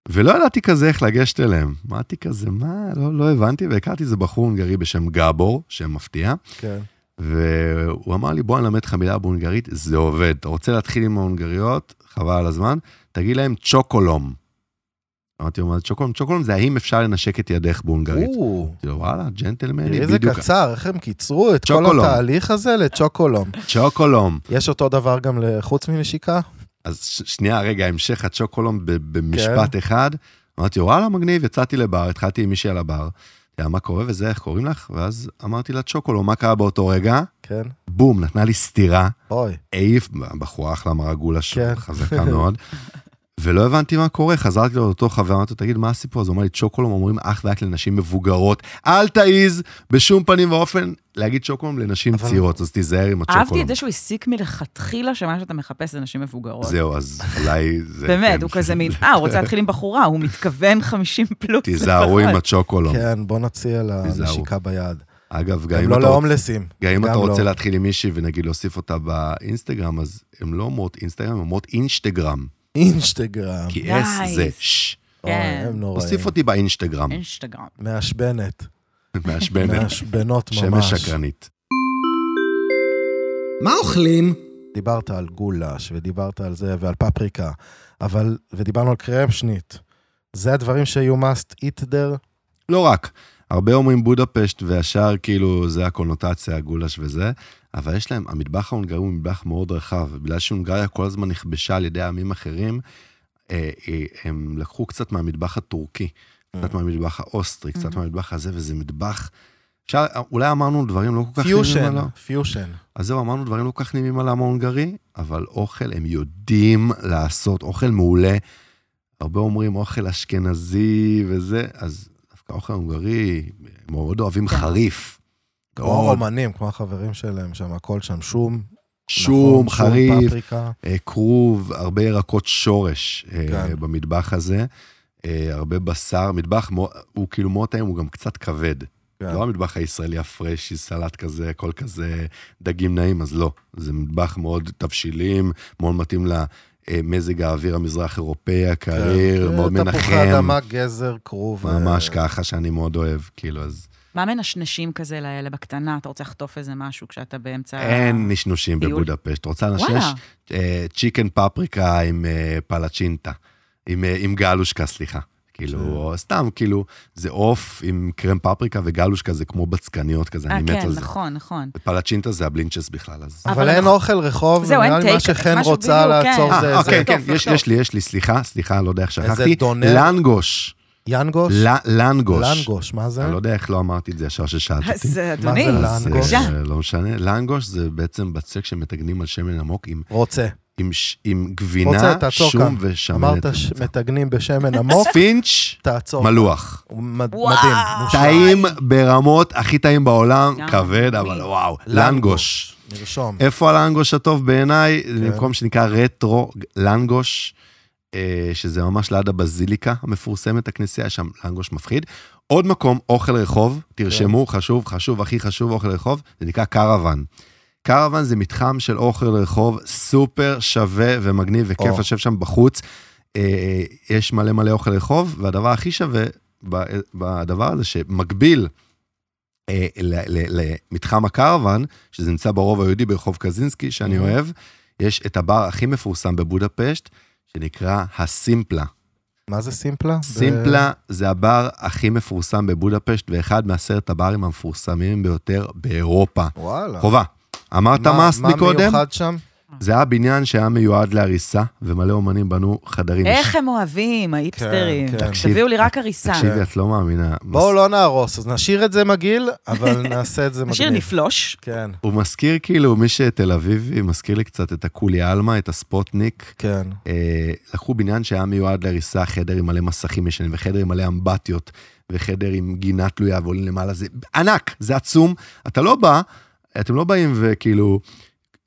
ולא ידעתי כזה איך לגשת אליהם. אמרתי כזה, מה, לא, לא הבנתי, והכרתי איזה בחור הונגרי בשם גבור, שם מפתיע, כן. והוא אמר לי, בוא אני אלמד לך מילה בהונגרית, זה עובד. אתה רוצה להתחיל עם ההונגריות, חבל על הזמן, תגיד להם צ'וקולום. אמרתי לו, מה זה צ'וקולום? צ'וקולום זה האם אפשר לנשק את ידך בהונגרית. או, אמרתי לו, וואלה, ג'נטלמני, תראי איזה בדיוק. קצר, איך הם קיצרו את כל צ'וקולום. התהליך הזה לצ'וקולום. צ'וקולום. יש אותו דבר גם לחוץ מנשיקה? אז ש- שנייה, רגע, המשך הצ'וקולום ב- כן. במשפט אחד. אמרתי לו, וואלה, מגניב, יצאתי לבר, התחלתי עם מישהי על הבר. אמרתי, מה קורה וזה, איך קוראים לך? ואז אמרתי לה, צ'וקולום, מה קרה באותו רגע? כן. בום, נתנה לי סטירה. אוי, העיף, בחורה אחלה מרה גולה שלו, כן. חזקה מאוד. ולא הבנתי מה קורה, חזרתי לו לאותו חבר, אמרתי לו, תגיד, מה הסיפור? אז הוא אמר לי, צ'וקולום אומרים אך ורק לנשים מבוגרות. אל תעיז בשום פנים ואופן להגיד צ'וקולום לנשים אבל- צעירות, אז תיזהר עם אהבתי הצ'וקולום. את זה שהוא הסיק מלכתחילה שמה שאתה מחפש זה נשים מבוגרות. זהו, אז אולי זה... באמת, כן. הוא כזה מין, אה, הוא רוצה להתחיל עם בחורה, הוא מתכוון 50 פלוס. תיזהרו עם לפחות. הצ'וקולום. כן, בוא נציע לה תיזהרו. נשיקה ביד. אגב, גם גם אם לא אתה רוצה- להומלסים. גם אם גם אתה רוצה לא. להתחיל עם מישהי ונגיד להוסיף אותה באינסטגרם, אז הן לא אומרות אינסטגרם, הן אומרות אינשטגרם. אינסטגרם. כי אס זה Nice. ש. אה. אוי, אה, כן. הם נוראים. תוסיף אותי באינסטגרם, אינסטגרם. מעשבנת. אה. מעשבנת. מעשבנות ממש. שמש שקרנית. מה אוכלים? דיברת על גולש, ודיברת על זה, ועל פפריקה, אבל, ודיברנו על קרמשנית. זה הדברים ש-you must eat there? לא רק. הרבה אומרים בודפשט, והשאר כאילו זה הקונוטציה, הגולש וזה, אבל יש להם, המטבח ההונגרי הוא מטבח מאוד רחב, ובגלל שהונגריה כל הזמן נכבשה על ידי עמים אחרים, אה, אה, הם לקחו קצת מהמטבח הטורקי, Mm. קצת מהמטבח האוסטרי, קצת מהמטבח הזה, וזה מטבח... אפשר, אולי אמרנו דברים לא כל כך... פיושן, נעימים עליו. פיושן. אז זהו, אמרנו דברים לא כל כך נעימים על העם ההונגרי, אבל אוכל הם יודעים לעשות, אוכל מעולה. הרבה אומרים אוכל אשכנזי וזה, אז דווקא אוכל הונגרי, הם מאוד אוהבים כן. חריף. כמו מאוד. הרומנים, כמו החברים שלהם שם, הכל שם שום. נכון, שום, שום חריף, פפריקה. אה, כרוב, הרבה ירקות שורש אה, כן. במטבח הזה, אה, הרבה בשר, מטבח מאוד- הוא כאילו מאוד טעים, הוא גם קצת כבד. כן. לא המטבח הישראלי הפרשי, סלט כזה, הכל כזה, דגים נעים, אז לא. זה מטבח מאוד תבשילים, מאוד מתאים למזג האוויר המזרח אירופאי, הקריר, כן. מאוד אה, תפוחי מנחם. אדמה, גזר, כרוב. ממש אה, ככה, שאני מאוד אוהב, כאילו, אז מה מנשנשים כזה לאלה בקטנה? אתה רוצה לחטוף איזה משהו כשאתה באמצע... אין נשנושים אה. טיול. בבודפשט. רוצה לנשנש? וואלה. אה, צ'יקן פפריקה עם אה, פלצ'ינטה, עם, אה, עם גלושקה, סליחה. כן. כאילו, או סתם, כאילו, זה עוף עם קרם פפריקה וגלושקה זה כמו בצקניות כזה, אה, אני מת כן, על זה. נכון, נכון. פלצ'ינטה זה הבלינצ'ס בכלל, אז... אבל אבל אין אנחנו- אוכל רחוב, זהו, אין ונראה לי מה טייק, שחן משהו רוצה בדיוק, לעצור כן. זה איזה אה, אוקיי, כן, לחטוף, יש, לחטוף. יש לי, יש לי, סליחה, סליחה, לא יודע איך איזה שכחתי. דונר? לנגוש. כן. ינגוש? ל- לנגוש. לנגוש, מה זה? אני לא יודע איך לא אמרתי את זה ישר ששאלת אותי. אז אדוני, מה זה אז, אה, לנגוש? בבקשה. לא משנה. לנגוש זה בעצם בצק שמתגנים על שמן עמוק עם רוצה. עם, ש- עם רוצה, גבינה, תעצור שום כאן. ושמנת. אמרת שמתגנים בשמן עמוק, ספינץ', תעצור. מלוח. הוא מד- וואו. מדהים. מושלם. טעים ברמות הכי טעים בעולם, גם כבד, אני. אבל וואו, לנגוש. נרשום. איפה הלנגוש הטוב בעיניי? במקום שנקרא רטרו לנגוש, אה, שזה ממש ליד הבזיליקה המפורסמת, הכנסייה, יש שם לנגוש מפחיד. עוד מקום, אוכל רחוב, תרשמו, חשוב, חשוב, הכי חשוב, אוכל רחוב, זה נקרא קרוון. קרוון זה מתחם של אוכל רחוב סופר שווה ומגניב וכיף או. לשבת שם בחוץ. אה, אה, יש מלא מלא אוכל רחוב, והדבר הכי שווה ב- בדבר הזה שמקביל אה, ל- ל- למתחם הקרוון, שזה נמצא ברובע היהודי ברחוב קזינסקי, שאני Mhm. אוהב, יש את הבר הכי מפורסם בבודפשט, שנקרא הסימפלה. מה זה סימפלה? ב- סימפלה זה הבר הכי מפורסם בבודפשט, ואחד מעשרת הברים המפורסמים ביותר באירופה. וואלה. חובה. אמרת מס מה מקודם? מיוחד שם? זה היה בניין שהיה מיועד להריסה, ומלא אומנים בנו חדרים. איך הם אוהבים, האיפסטרים. כן, כן. תביאו לי רק הריסה. תקשיבי, את לא מאמינה. בואו לא נהרוס, אז נשאיר את זה מגעיל, אבל נעשה את זה מגניב. השיר נפלוש. כן, הוא מזכיר כאילו, מי שתל אביבי, מזכיר לי קצת את הקולי עלמה, את הספוטניק. כן. אה, לקחו בניין שהיה מיועד להריסה, חדר עם מלא מסכים ישנים, וחדר עם מלא אמבטיות, וחדר עם גינה תלויה ועולים למעלה, זה ענק, זה עצום. אתה לא בא, אתם לא באים וכאילו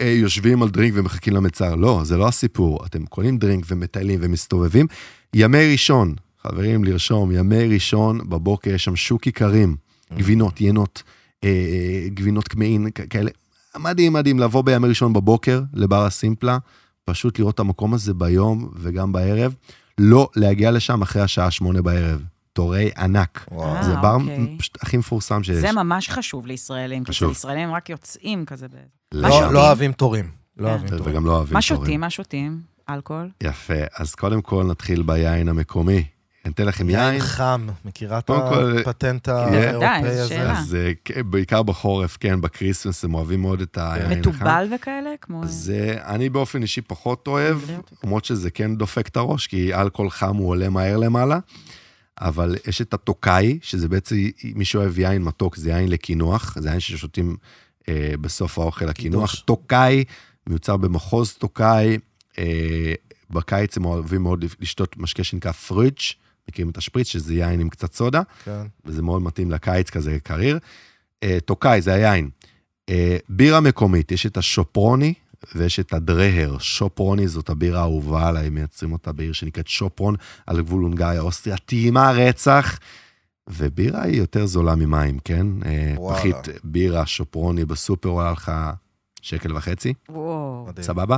אה, יושבים על דרינק ומחכים למצער, לא, זה לא הסיפור. אתם קונים דרינק ומטיילים ומסתובבים. ימי ראשון, חברים, לרשום, ימי ראשון בבוקר יש שם שוק איכרים, Mm. גבינות, ינות, אה, אה, גבינות קמעין, כ- כאלה. מדהים, מדהים, לבוא בימי ראשון בבוקר לבר הסימפלה, פשוט לראות את המקום הזה ביום וגם בערב, לא להגיע לשם אחרי השעה שמונה בערב. תורי ענק. וואו. אה, זה בר אוקיי. פשוט הכי מפורסם שיש. זה ממש חשוב לישראלים, כי חשוב. אצל ישראלים הם רק יוצאים כזה. ב- לא, לא- שותים? לא אוהבים תורים. לא כן. אוהבים תורים. וגם לא אוהבים מה תורים. שותים? מה שותים? אלכוהול? יפה, אז קודם כל נתחיל ביין המקומי. אני אתן לכם יין. חם, מכירה את קודם כל, כן. הפטנט בוודאי, האירופאי זו הזה? שאלה. אז אה, כן, בעיקר בחורף, כן, בקריסמס הם אוהבים מאוד את היין. החם. מתובל וכאלה? כמו... אז אה, אני באופן אישי פחות אוהב, אני יודעת. למרות שזה כן דופק את הראש, כי אלכוהול חם הוא עולה מהר למעלה, אבל יש את הטוקאי, שזה בעצם, מי שאוהב יין מתוק, זה יין לקינוח, זה יין ששותים אה, בסוף האוכל הקינוח. קידוש. טוקאי מיוצר במחוז טוקאי, אה, בקיץ הם אוהבים מאוד לשתות משקה שנקרא פריץ', מכירים את השפריץ, שזה יין עם קצת סודה. כן. וזה מאוד מתאים לקיץ כזה קריר. אה, טוקאי, זה היין. אה, בירה מקומית, יש את השופרוני ויש את הדרהר. שופרוני זאת הבירה האהובה עליי, מייצרים אותה בעיר שנקראת שופרון, על גבול הונגריה, אוסטריה, טעימה רצח. ובירה היא יותר זולה ממים, כן? אה, וואלה. פחית בירה, שופרוני בסופר עולה לך שקל וחצי, וואו. מדהים. כן. סבבה?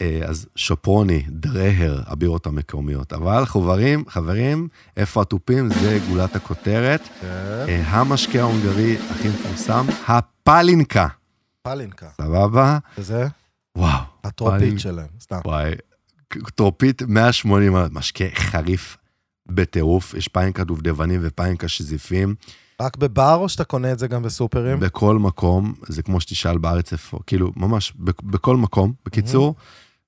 אה, אז שופרוני, דרהר, הבירות המקומיות. אבל חברים, חברים, איפה התופים? זה גולת הכותרת. כן. אה, המשקה ההונגרי הכי מפורסם, הפלינקה. פלינקה. סבבה? וזה וואו, פלינק- הטרופית שלהם, סתם. וואי, טרופית 180, משקה חריף בטירוף, יש פיינקה דובדבנים ופיינקה שזיפים, רק בבר או שאתה קונה את זה גם בסופרים? בכל מקום, זה כמו שתשאל בארץ איפה, כאילו, ממש, בכ- בכל מקום. בקיצור,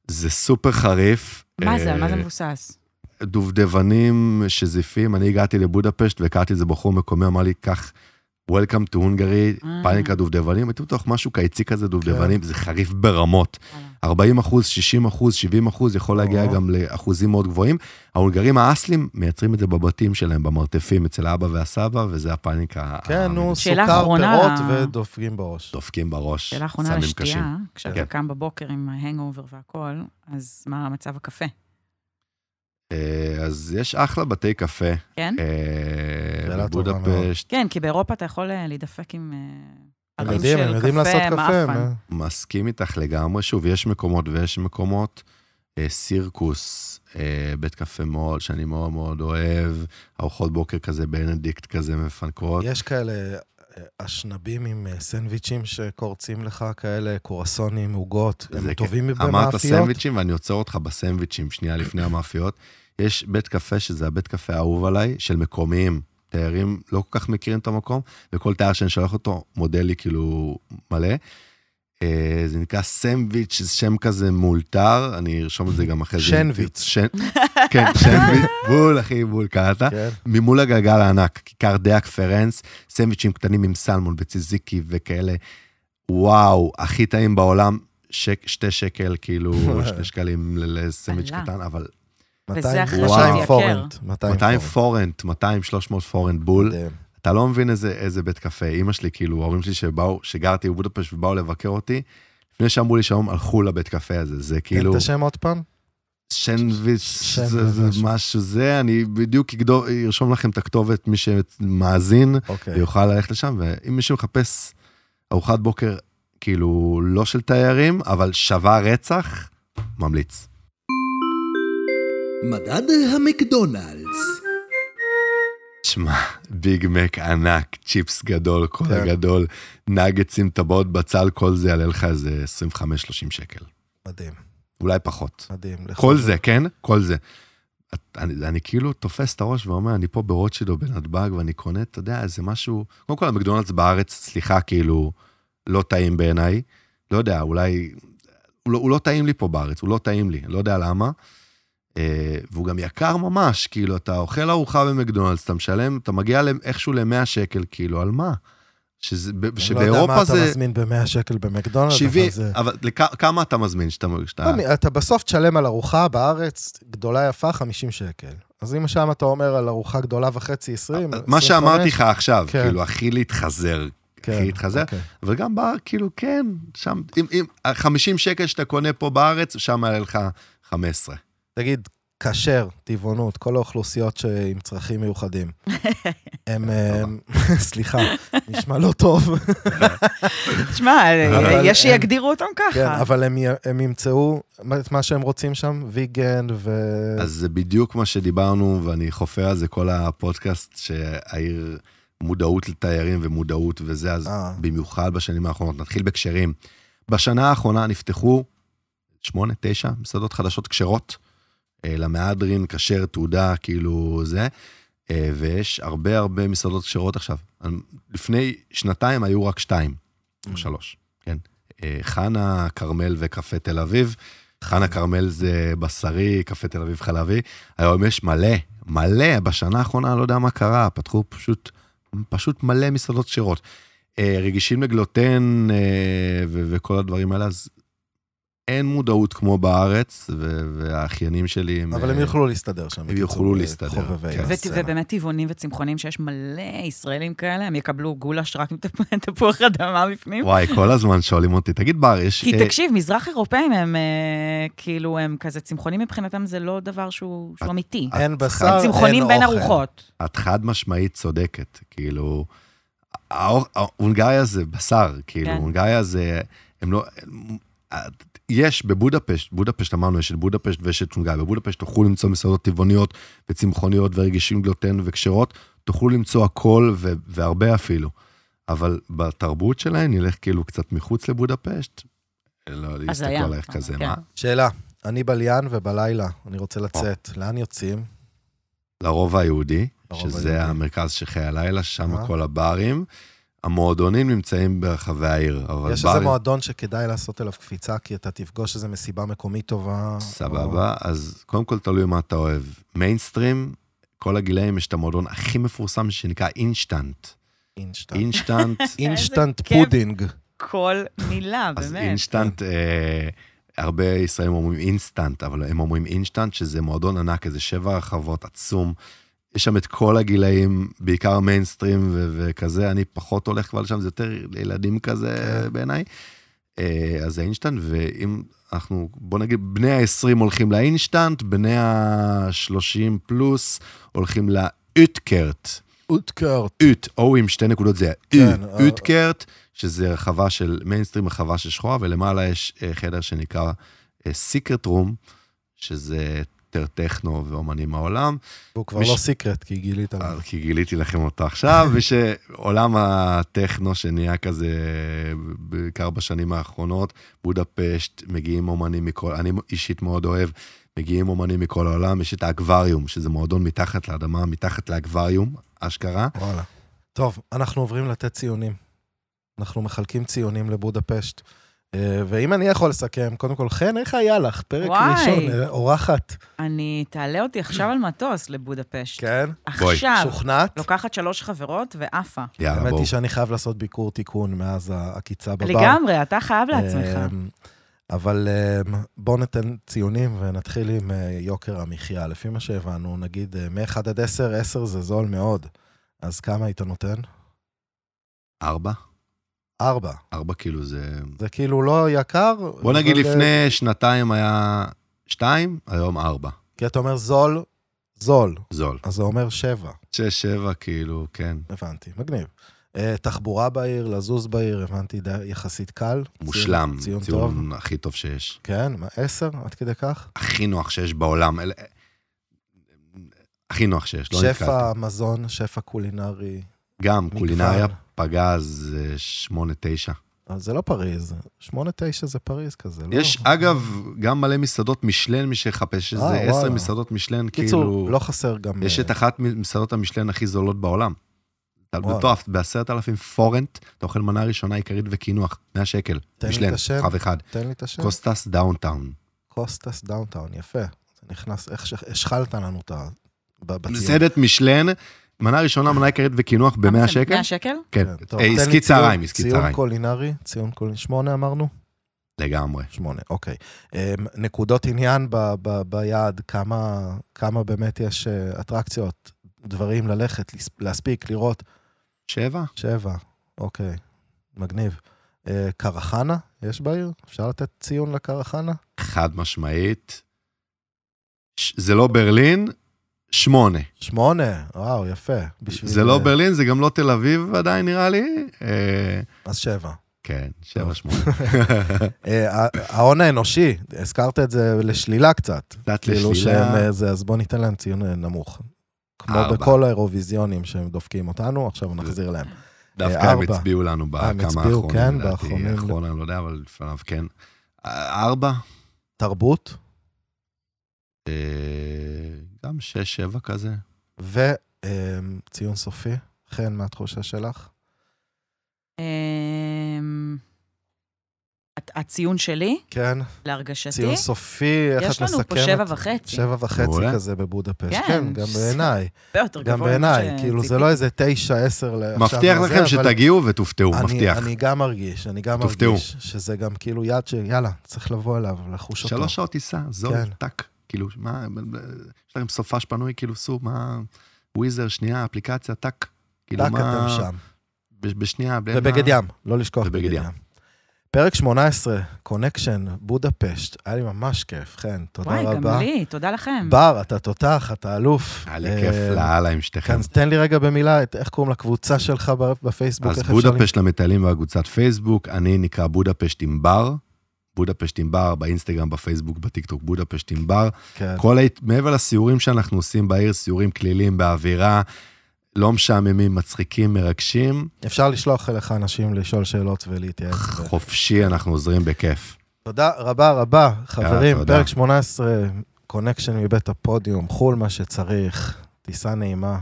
זה סופר חריף. מה זה? על מה זה אה, מבוסס? דובדבנים שזיפים, אני הגעתי לבודפשט והכרתי איזה בחור מקומי, אמר לי, קח, Welcome to הונגרי, אה. פייניקה דובדבנים, הייתי בטוח משהו קיצי כזה כן. דובדבנים, זה חריף ברמות. וואלה. 40 אחוז, 60 אחוז, 70 אחוז, יכול להגיע או. גם לאחוזים מאוד גבוהים. ההונגרים האסלים מייצרים את זה בבתים שלהם, במרתפים, אצל האבא והסבא, וזה הפאניקה. כן, נו, שאלה סוכר, אחרונה. אה, פירות ודופקים בראש. דופקים בראש, שאלה אחרונה סמים קשים. לשתייה, כשאתה כן. קם בבוקר עם ההנגאובר והכול, אז מה מצב הקפה? אה, אז יש אחלה בתי קפה. כן? אה, שאלה טובה מאוד. בבודפשט, כן, כי באירופה אתה יכול אה, להידפק עם... אה, הם ערים יודעים, של הם יודעים לעשות קפה. מאפן. מה? מסכים איתך לגמרי. שוב, יש מקומות ויש מקומות. אה, סירקוס, אה, בית קפה מול, שאני מאוד מאוד אוהב. ארוחות בוקר כזה, בנדיקט כזה מפנקות. יש כאלה אה, אשנבים עם אה, סנדוויצ'ים שקורצים לך, כאלה קורסונים, עוגות, זה הם כן. טובים אמרת במאפיות. סנדוויצ'ים, ואני עוצר אותך בסנדוויצ'ים, שנייה לפני המאפיות. יש בית קפה, שזה הבית קפה האהוב עליי, של מקומיים. תיירים לא כל כך מכירים את המקום, וכל תייר שאני שולח אותו, מודה לי כאילו מלא. אה, זה נקרא סנדוויץ', זה שם כזה מאולתר, אני ארשום את זה גם אחרי זה. שנדוויץ'. שן- כן, שנדוויץ', בול, אחי, בול, קראת. כן. ממול הגלגל הענק, כיכר דאק פרנס, סנדוויצ'ים קטנים עם סלמון וציזיקי וכאלה. וואו, הכי טעים בעולם, שק, שתי שקל, כאילו, שני שקלים ל- לסנדוויץ' עלה. קטן, אבל 200 וזה אחרי שזה 200 יקר. פורנט. 200 200 פורנט. פורנט, 200, 300 פורנט בול. מדהים. אתה לא מבין איזה, איזה בית קפה. אימא שלי, כאילו, ההורים שלי שבאו, שגרתי בבודפשט ובאו לבקר אותי, לפני שאמרו לי שלום, הלכו לבית קפה הזה. זה תן כאילו, את השם עוד פעם? שנדוויץ', שנדוויץ', זה- זה משהו. משהו זה, אני בדיוק אגדור- ארשום לכם את הכתובת, מי שמאזין. אוקיי. ויוכל ללכת לשם, ואם מישהו מחפש ארוחת בוקר, כאילו, לא של תיירים, אבל שווה רצח, ממליץ. מדד המקדונלדס. שמע, ביג מק ענק, צ'יפס גדול, כל כן. הגדול, נגצים, טבעות, בצל, כל זה יעלה לך איזה 25-30 שקל, מדהים, אולי פחות. מדהים. כל זה, כן? כל זה. את- אני, אני כאילו תופס את הראש ואומר, אני פה ברוטשילד או בנתב"ג ואני קונה, אתה יודע, איזה משהו... קודם כל, המקדונלדס בארץ, סליחה, כאילו, לא טעים בעיניי. לא יודע, אולי... הוא לא, הוא לא טעים לי פה בארץ, הוא לא טעים לי, לא יודע למה. אה, והוא גם יקר ממש, כאילו, אתה אוכל ארוחה במקדונלדס, אתה משלם, אתה מגיע למ- איכשהו ל-100 שקל, כאילו, על מה? שזה, אני ב- לא יודע מה שבאירופה אתה זה... מזמין ב-100 שקל במקדונלדס, 70, אבל זה... אבל לכ- כמה אתה מזמין שאתה... שאתה... לא, אתה בסוף תשלם על ארוחה בארץ גדולה יפה 50 שקל. אז אם שם אתה אומר על ארוחה גדולה וחצי 20, מה 25, שאמרתי לך עכשיו, כן. כאילו, הכי להתחזר, כן, הכי להתחזר, אוקיי. אבל גם בר, כאילו, כן, שם, אם, אם, ה-50 שקל שאתה קונה פה בארץ, שם יעלה לך 15. תגיד, כשר, טבעונות, כל האוכלוסיות ש- עם צרכים מיוחדים. הם, לא הם- סליחה, נשמע לא טוב, תשמע, אה, אבל יש אין- שיגדירו אותם כן, ככה. אבל הם י- הם ימצאו מה- את מה שהם רוצים שם, ויגן ו... אז זה בדיוק מה שדיברנו, ואני חופר על זה כל הפודקאסט, שהעיר מודעות לתיירים ומודעות וזה, אז אה. במיוחד בשנים האחרונות. נתחיל בקשרים. בשנה האחרונה נפתחו שמונה, תשע מסעדות חדשות כשרות, אה, למהדרין, כשר, תעודה, כאילו זה, אה, ויש הרבה הרבה מסעדות כשרות עכשיו. אני- לפני שנתיים היו רק שתיים, או שלוש, כן. אה, חנה, כרמל וקפה תל אביב. חנה כרמל זה בשרי, קפה תל אביב חלבי. היום יש מלא, מלא, בשנה האחרונה, לא יודע מה קרה, פתחו פשוט, פשוט מלא מסעדות כשרות. אה, רגישים לגלוטן אה, ו- וכל הדברים האלה, אז אין מודעות כמו בארץ, ו- והאחיינים שלי הם... אבל הם אה, יוכלו להסתדר שם. הם יוכלו להסתדר, חובבי כן. ו- הסצנה. ובאמת טבעונים וצמחונים, שיש מלא ישראלים כאלה, הם יקבלו גולש רק עם תפ- תפוח אדמה בפנים. וואי, כל הזמן שואלים אותי, תגיד בר, יש... כי אה, תקשיב, מזרח אירופאים הם אה, כאילו, הם כזה צמחונים מבחינתם, זה לא דבר שהוא שהוא את- אמיתי. את אין בשר, צריכה- אה, אין צמחונים בין אוכל. ארוחות. את חד משמעית צודקת, כאילו, האור- הונגריה זה בשר, כאילו, כן. הונגריה זה, הם לא, יש בבודפשט, בודפשט אמרנו, יש את בודפשט ויש את הונגריה, בבודפשט תוכלו למצוא מסעדות טבעוניות וצמחוניות ורגישים גלוטן וכשרות, תוכלו למצוא הכל ו- והרבה אפילו. אבל בתרבות שלהם נלך כאילו קצת מחוץ לבודפשט. לא, היה. יסתכלו עלייך כזה, כן. מה? שאלה, אני בליין ובלילה, אני רוצה לצאת, לאן יוצאים? לרוב היהודי, לרובע שזה היהודי. המרכז שחיי הלילה, שם אה. כל הברים. המועדונים נמצאים ברחבי העיר, אבל יש איזה ברים... מועדון שכדאי לעשות אליו קפיצה, כי אתה תפגוש איזו מסיבה מקומית טובה. או- סבבה, אז קודם כל תלוי מה אתה אוהב. מיינסטרים, כל הגילאים יש את המועדון הכי מפורסם שנקרא אינשטנט. אינשטנט. אינשטנט, אינשטנט איזה כיף. פודינג. כל מילה, אז באמת. אינשטנט, אה, הרבה ישראלים אומרים אינסטנט, אבל הם אומרים אינשטנט, שזה מועדון ענק, איזה שבע רחבות עצום. יש שם את כל הגילאים, בעיקר מיינסטרים ו- וכזה, אני פחות הולך כבר לשם, זה יותר לילדים כזה בעיניי. אה, אז זה אינשטנט, ואם אנחנו, בוא נגיד, בני ה-20 הולכים לאינשטנט, בני ה-30 פלוס הולכים לאוטקרט. אוטקרט. אוט, או עם שתי נקודות זה כן, אה, אוטקרט, שזה רחבה של מיינסטרים, רחבה של שחורה, ולמעלה יש אה, חדר שנקרא סיקרט רום, שזה יותר טכנו ואומנים מהעולם, הוא כבר מי לא ש- סיקרט, כי גילית לנו. אה, כי גיליתי לכם אותו עכשיו, ושעולם הטכנו שנהיה כזה, בעיקר בשנים האחרונות, בודפשט, מגיעים אומנים מכל, אני אישית מאוד אוהב, מגיעים אומנים מכל העולם, יש את האקווריום, שזה מועדון מתחת לאדמה, מתחת לאקווריום, אשכרה. וואלה. טוב, אנחנו עוברים לתת ציונים. אנחנו מחלקים ציונים לבודפשט. אה, ואם אני יכול לסכם, קודם כל, חן, איך היה לך? פרק וואי. ראשון, אה, אורחת. אני, תעלה אותי עכשיו על מטוס לבודפשט. כן? בואי. עכשיו. שוכנעת? לוקחת שלוש חברות ועפה. יאללה, האמת לא- בואו. היא שאני חייב לעשות ביקור תיקון מאז העקיצה בבר. לגמרי, אתה חייב לעצמך. אמ, אבל אמ, בואו ניתן ציונים ונתחיל עם אה, יוקר המחיה. לפי מה שהבנו, נגיד אה, מ-1 עד 10, 10 זה זול מאוד. אז כמה היית נותן? ארבע? 4. ארבע כאילו זה... זה כאילו לא יקר. בוא נגיד אבל, אה, לפני שנתיים היה שתיים, היום ארבע. כי אתה אומר זול, זול. זול. אז זה אומר 7. שש, שבע, כאילו, כן. הבנתי, מגניב. אה, תחבורה בעיר, לזוז בעיר, הבנתי, די- יחסית קל. מושלם. ציון, ציון טוב. ציון הכי טוב שיש. כן, מה, 10? עד כדי כך? הכי נוח שיש בעולם. אלה- הכי נוח שיש, לא שפע נתקלתי. מזון, שפע קולינרי. גם מגוון. קולינריה פגז אה, שמונה, תשע. אבל זה לא פריז, 8-9 זה פריז כזה, לא? יש, אה, אגב, גם מלא מסעדות משלן, מי שיחפש איזה אה, עשר וואלה. מסעדות משלן, כאילו... קיצור, לא חסר גם... יש אה, את אחת מסעדות המשלן הכי זולות בעולם. אתה וואו. מטורף, בעשרת אלפים פורנט, אתה אוכל מנה ראשונה עיקרית וקינוח, 100 שקל, תן לי את משלן, השם. כן. כוכב אחד, אה, תן לי את השם. קוסטס דאונטאון. קוסטס דאונטאון, יפה. זה נכנס, איך ש- השחלת לנו את ה... ב- בציון. מסעדת משלן, מנה ראשונה, מנה עיקרית וקינוח ב-100 שקל? 100 אוקיי, שקל? כן, כן, טוב, אה, תן לי ציון- עסקי צהריים, עסקי ציון צהריים, קולינרי, ציון קולינרי, שמונה אמרנו? לגמרי. שמונה, אוקיי. אה, נקודות עניין ב- ב- ביעד, כמה כמה באמת יש אה, אטרקציות, דברים ללכת, לס- להספיק, לראות. שבע? שבע, אוקיי, מגניב. אה, קרחנה, יש בעיר? אפשר לתת ציון לקרחנה? חד משמעית. ש- זה לא ברלין, שמונה. שמונה, וואו, יפה. בשביל- זה לא אה, ברלין, זה גם לא תל אביב עדיין, נראה לי. אה, אז שבע. כן, טוב. שבע, שמונה. אה, ה- ההון האנושי, הזכרת את זה לשלילה קצת. קצת כאילו שהם לשלילה. אה, זה, אז בוא ניתן להם ציון אה, נמוך. כמו ארבע. בכל האירוויזיונים שהם דופקים אותנו, עכשיו נחזיר להם. דווקא אה, הם ארבע. הצביעו לנו אה, בכמה הם האחרונים, הצביעו, כן, לדעתי, באחרונים. האחרון, אני לא יודע, אבל לפניו כן. אה, ארבע, תרבות אה, גם שש, שבע כזה. וציון אמ, סופי. חן, מה התחושה שלך? אמ, הת- הציון שלי, כן, להרגשתי, ציון סופי, איך את יש מסכמת? לנו פה שבע וחצי. שבע וחצי מעולה. כזה בבודפשט. כן, כן, גם ש- בעיניי. הרבה יותר גבוה. גם ממה בעיניי. שציפיתי. כאילו, זה לא איזה תשע, עשר. לעכשיו מבטיח לזה, לכם אבל- שתגיעו ותופתעו, אני- מבטיח. אני גם מרגיש, אני גם תופתעו. מרגיש שזה גם כאילו יד שיאללה, צריך לבוא אליו, לחוש אותו. שלוש שעות טיסה, זול, כן. טאק. כאילו, מה, יש לכם סופש פנוי, כאילו, סו, מה, וויזר, שנייה, אפליקציה, טאק. כאילו, רק מה, אתם שם. ב- בשנייה, בלי ובגד ים, לא לשכוח ובגד בגד ים. ים. פרק 18, קונקשן, בודפשט, היה לי ממש כיף, חן, תודה וואי, רבה. גם לי, תודה לכם. בר, אתה תותח, אתה אלוף. היה לי אה, כיף לאללה עם שתיכם. כן, אז תן לי רגע במילה, את- איך קוראים לקבוצה שלך ב- בפייסבוק? אז איך אפשר בודפשט למטיילים והקבוצת פייסבוק, אני נקרא בודפשט עם בר. בודפשט עם בר, באינסטגרם, בפייסבוק, בטיקטוק, בודפשט עם בר. למצוא? כן. כל ההת... מעבר לסיורים שאנחנו עושים בעיר, סיורים כלילים באווירה, לא משעממים, מצחיקים, מרגשים, אפשר לשלוח אליך אנשים לשאול שאלות ולהתייעץ. ו- חופשי, אנחנו עוזרים בכיף. תודה רבה רבה, חברים. תודה. פרק 18, קונקשן מבית הפודיום, חול מה שצריך, טיסה נעימה.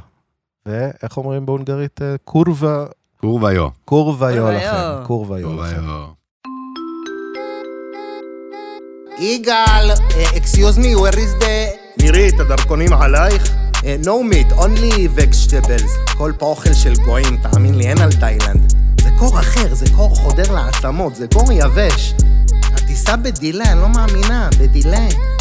ואיך אומרים בהונגרית? אה, קורבה, קורוויו. קורבה יו קורבה לכם. יו. קורבה יו לכם. קורוויו. יגאל, אה, excuse me, where is the... מירי, את הדרכונים עלייך? אה, No meat, only vegetables. כל פה אוכל של גויים, תאמין לי, אין על תאילנד. זה קור אחר, זה קור חודר לעצמות, זה קור יבש. הטיסה בדילה, אני לא מאמינה, בדילה.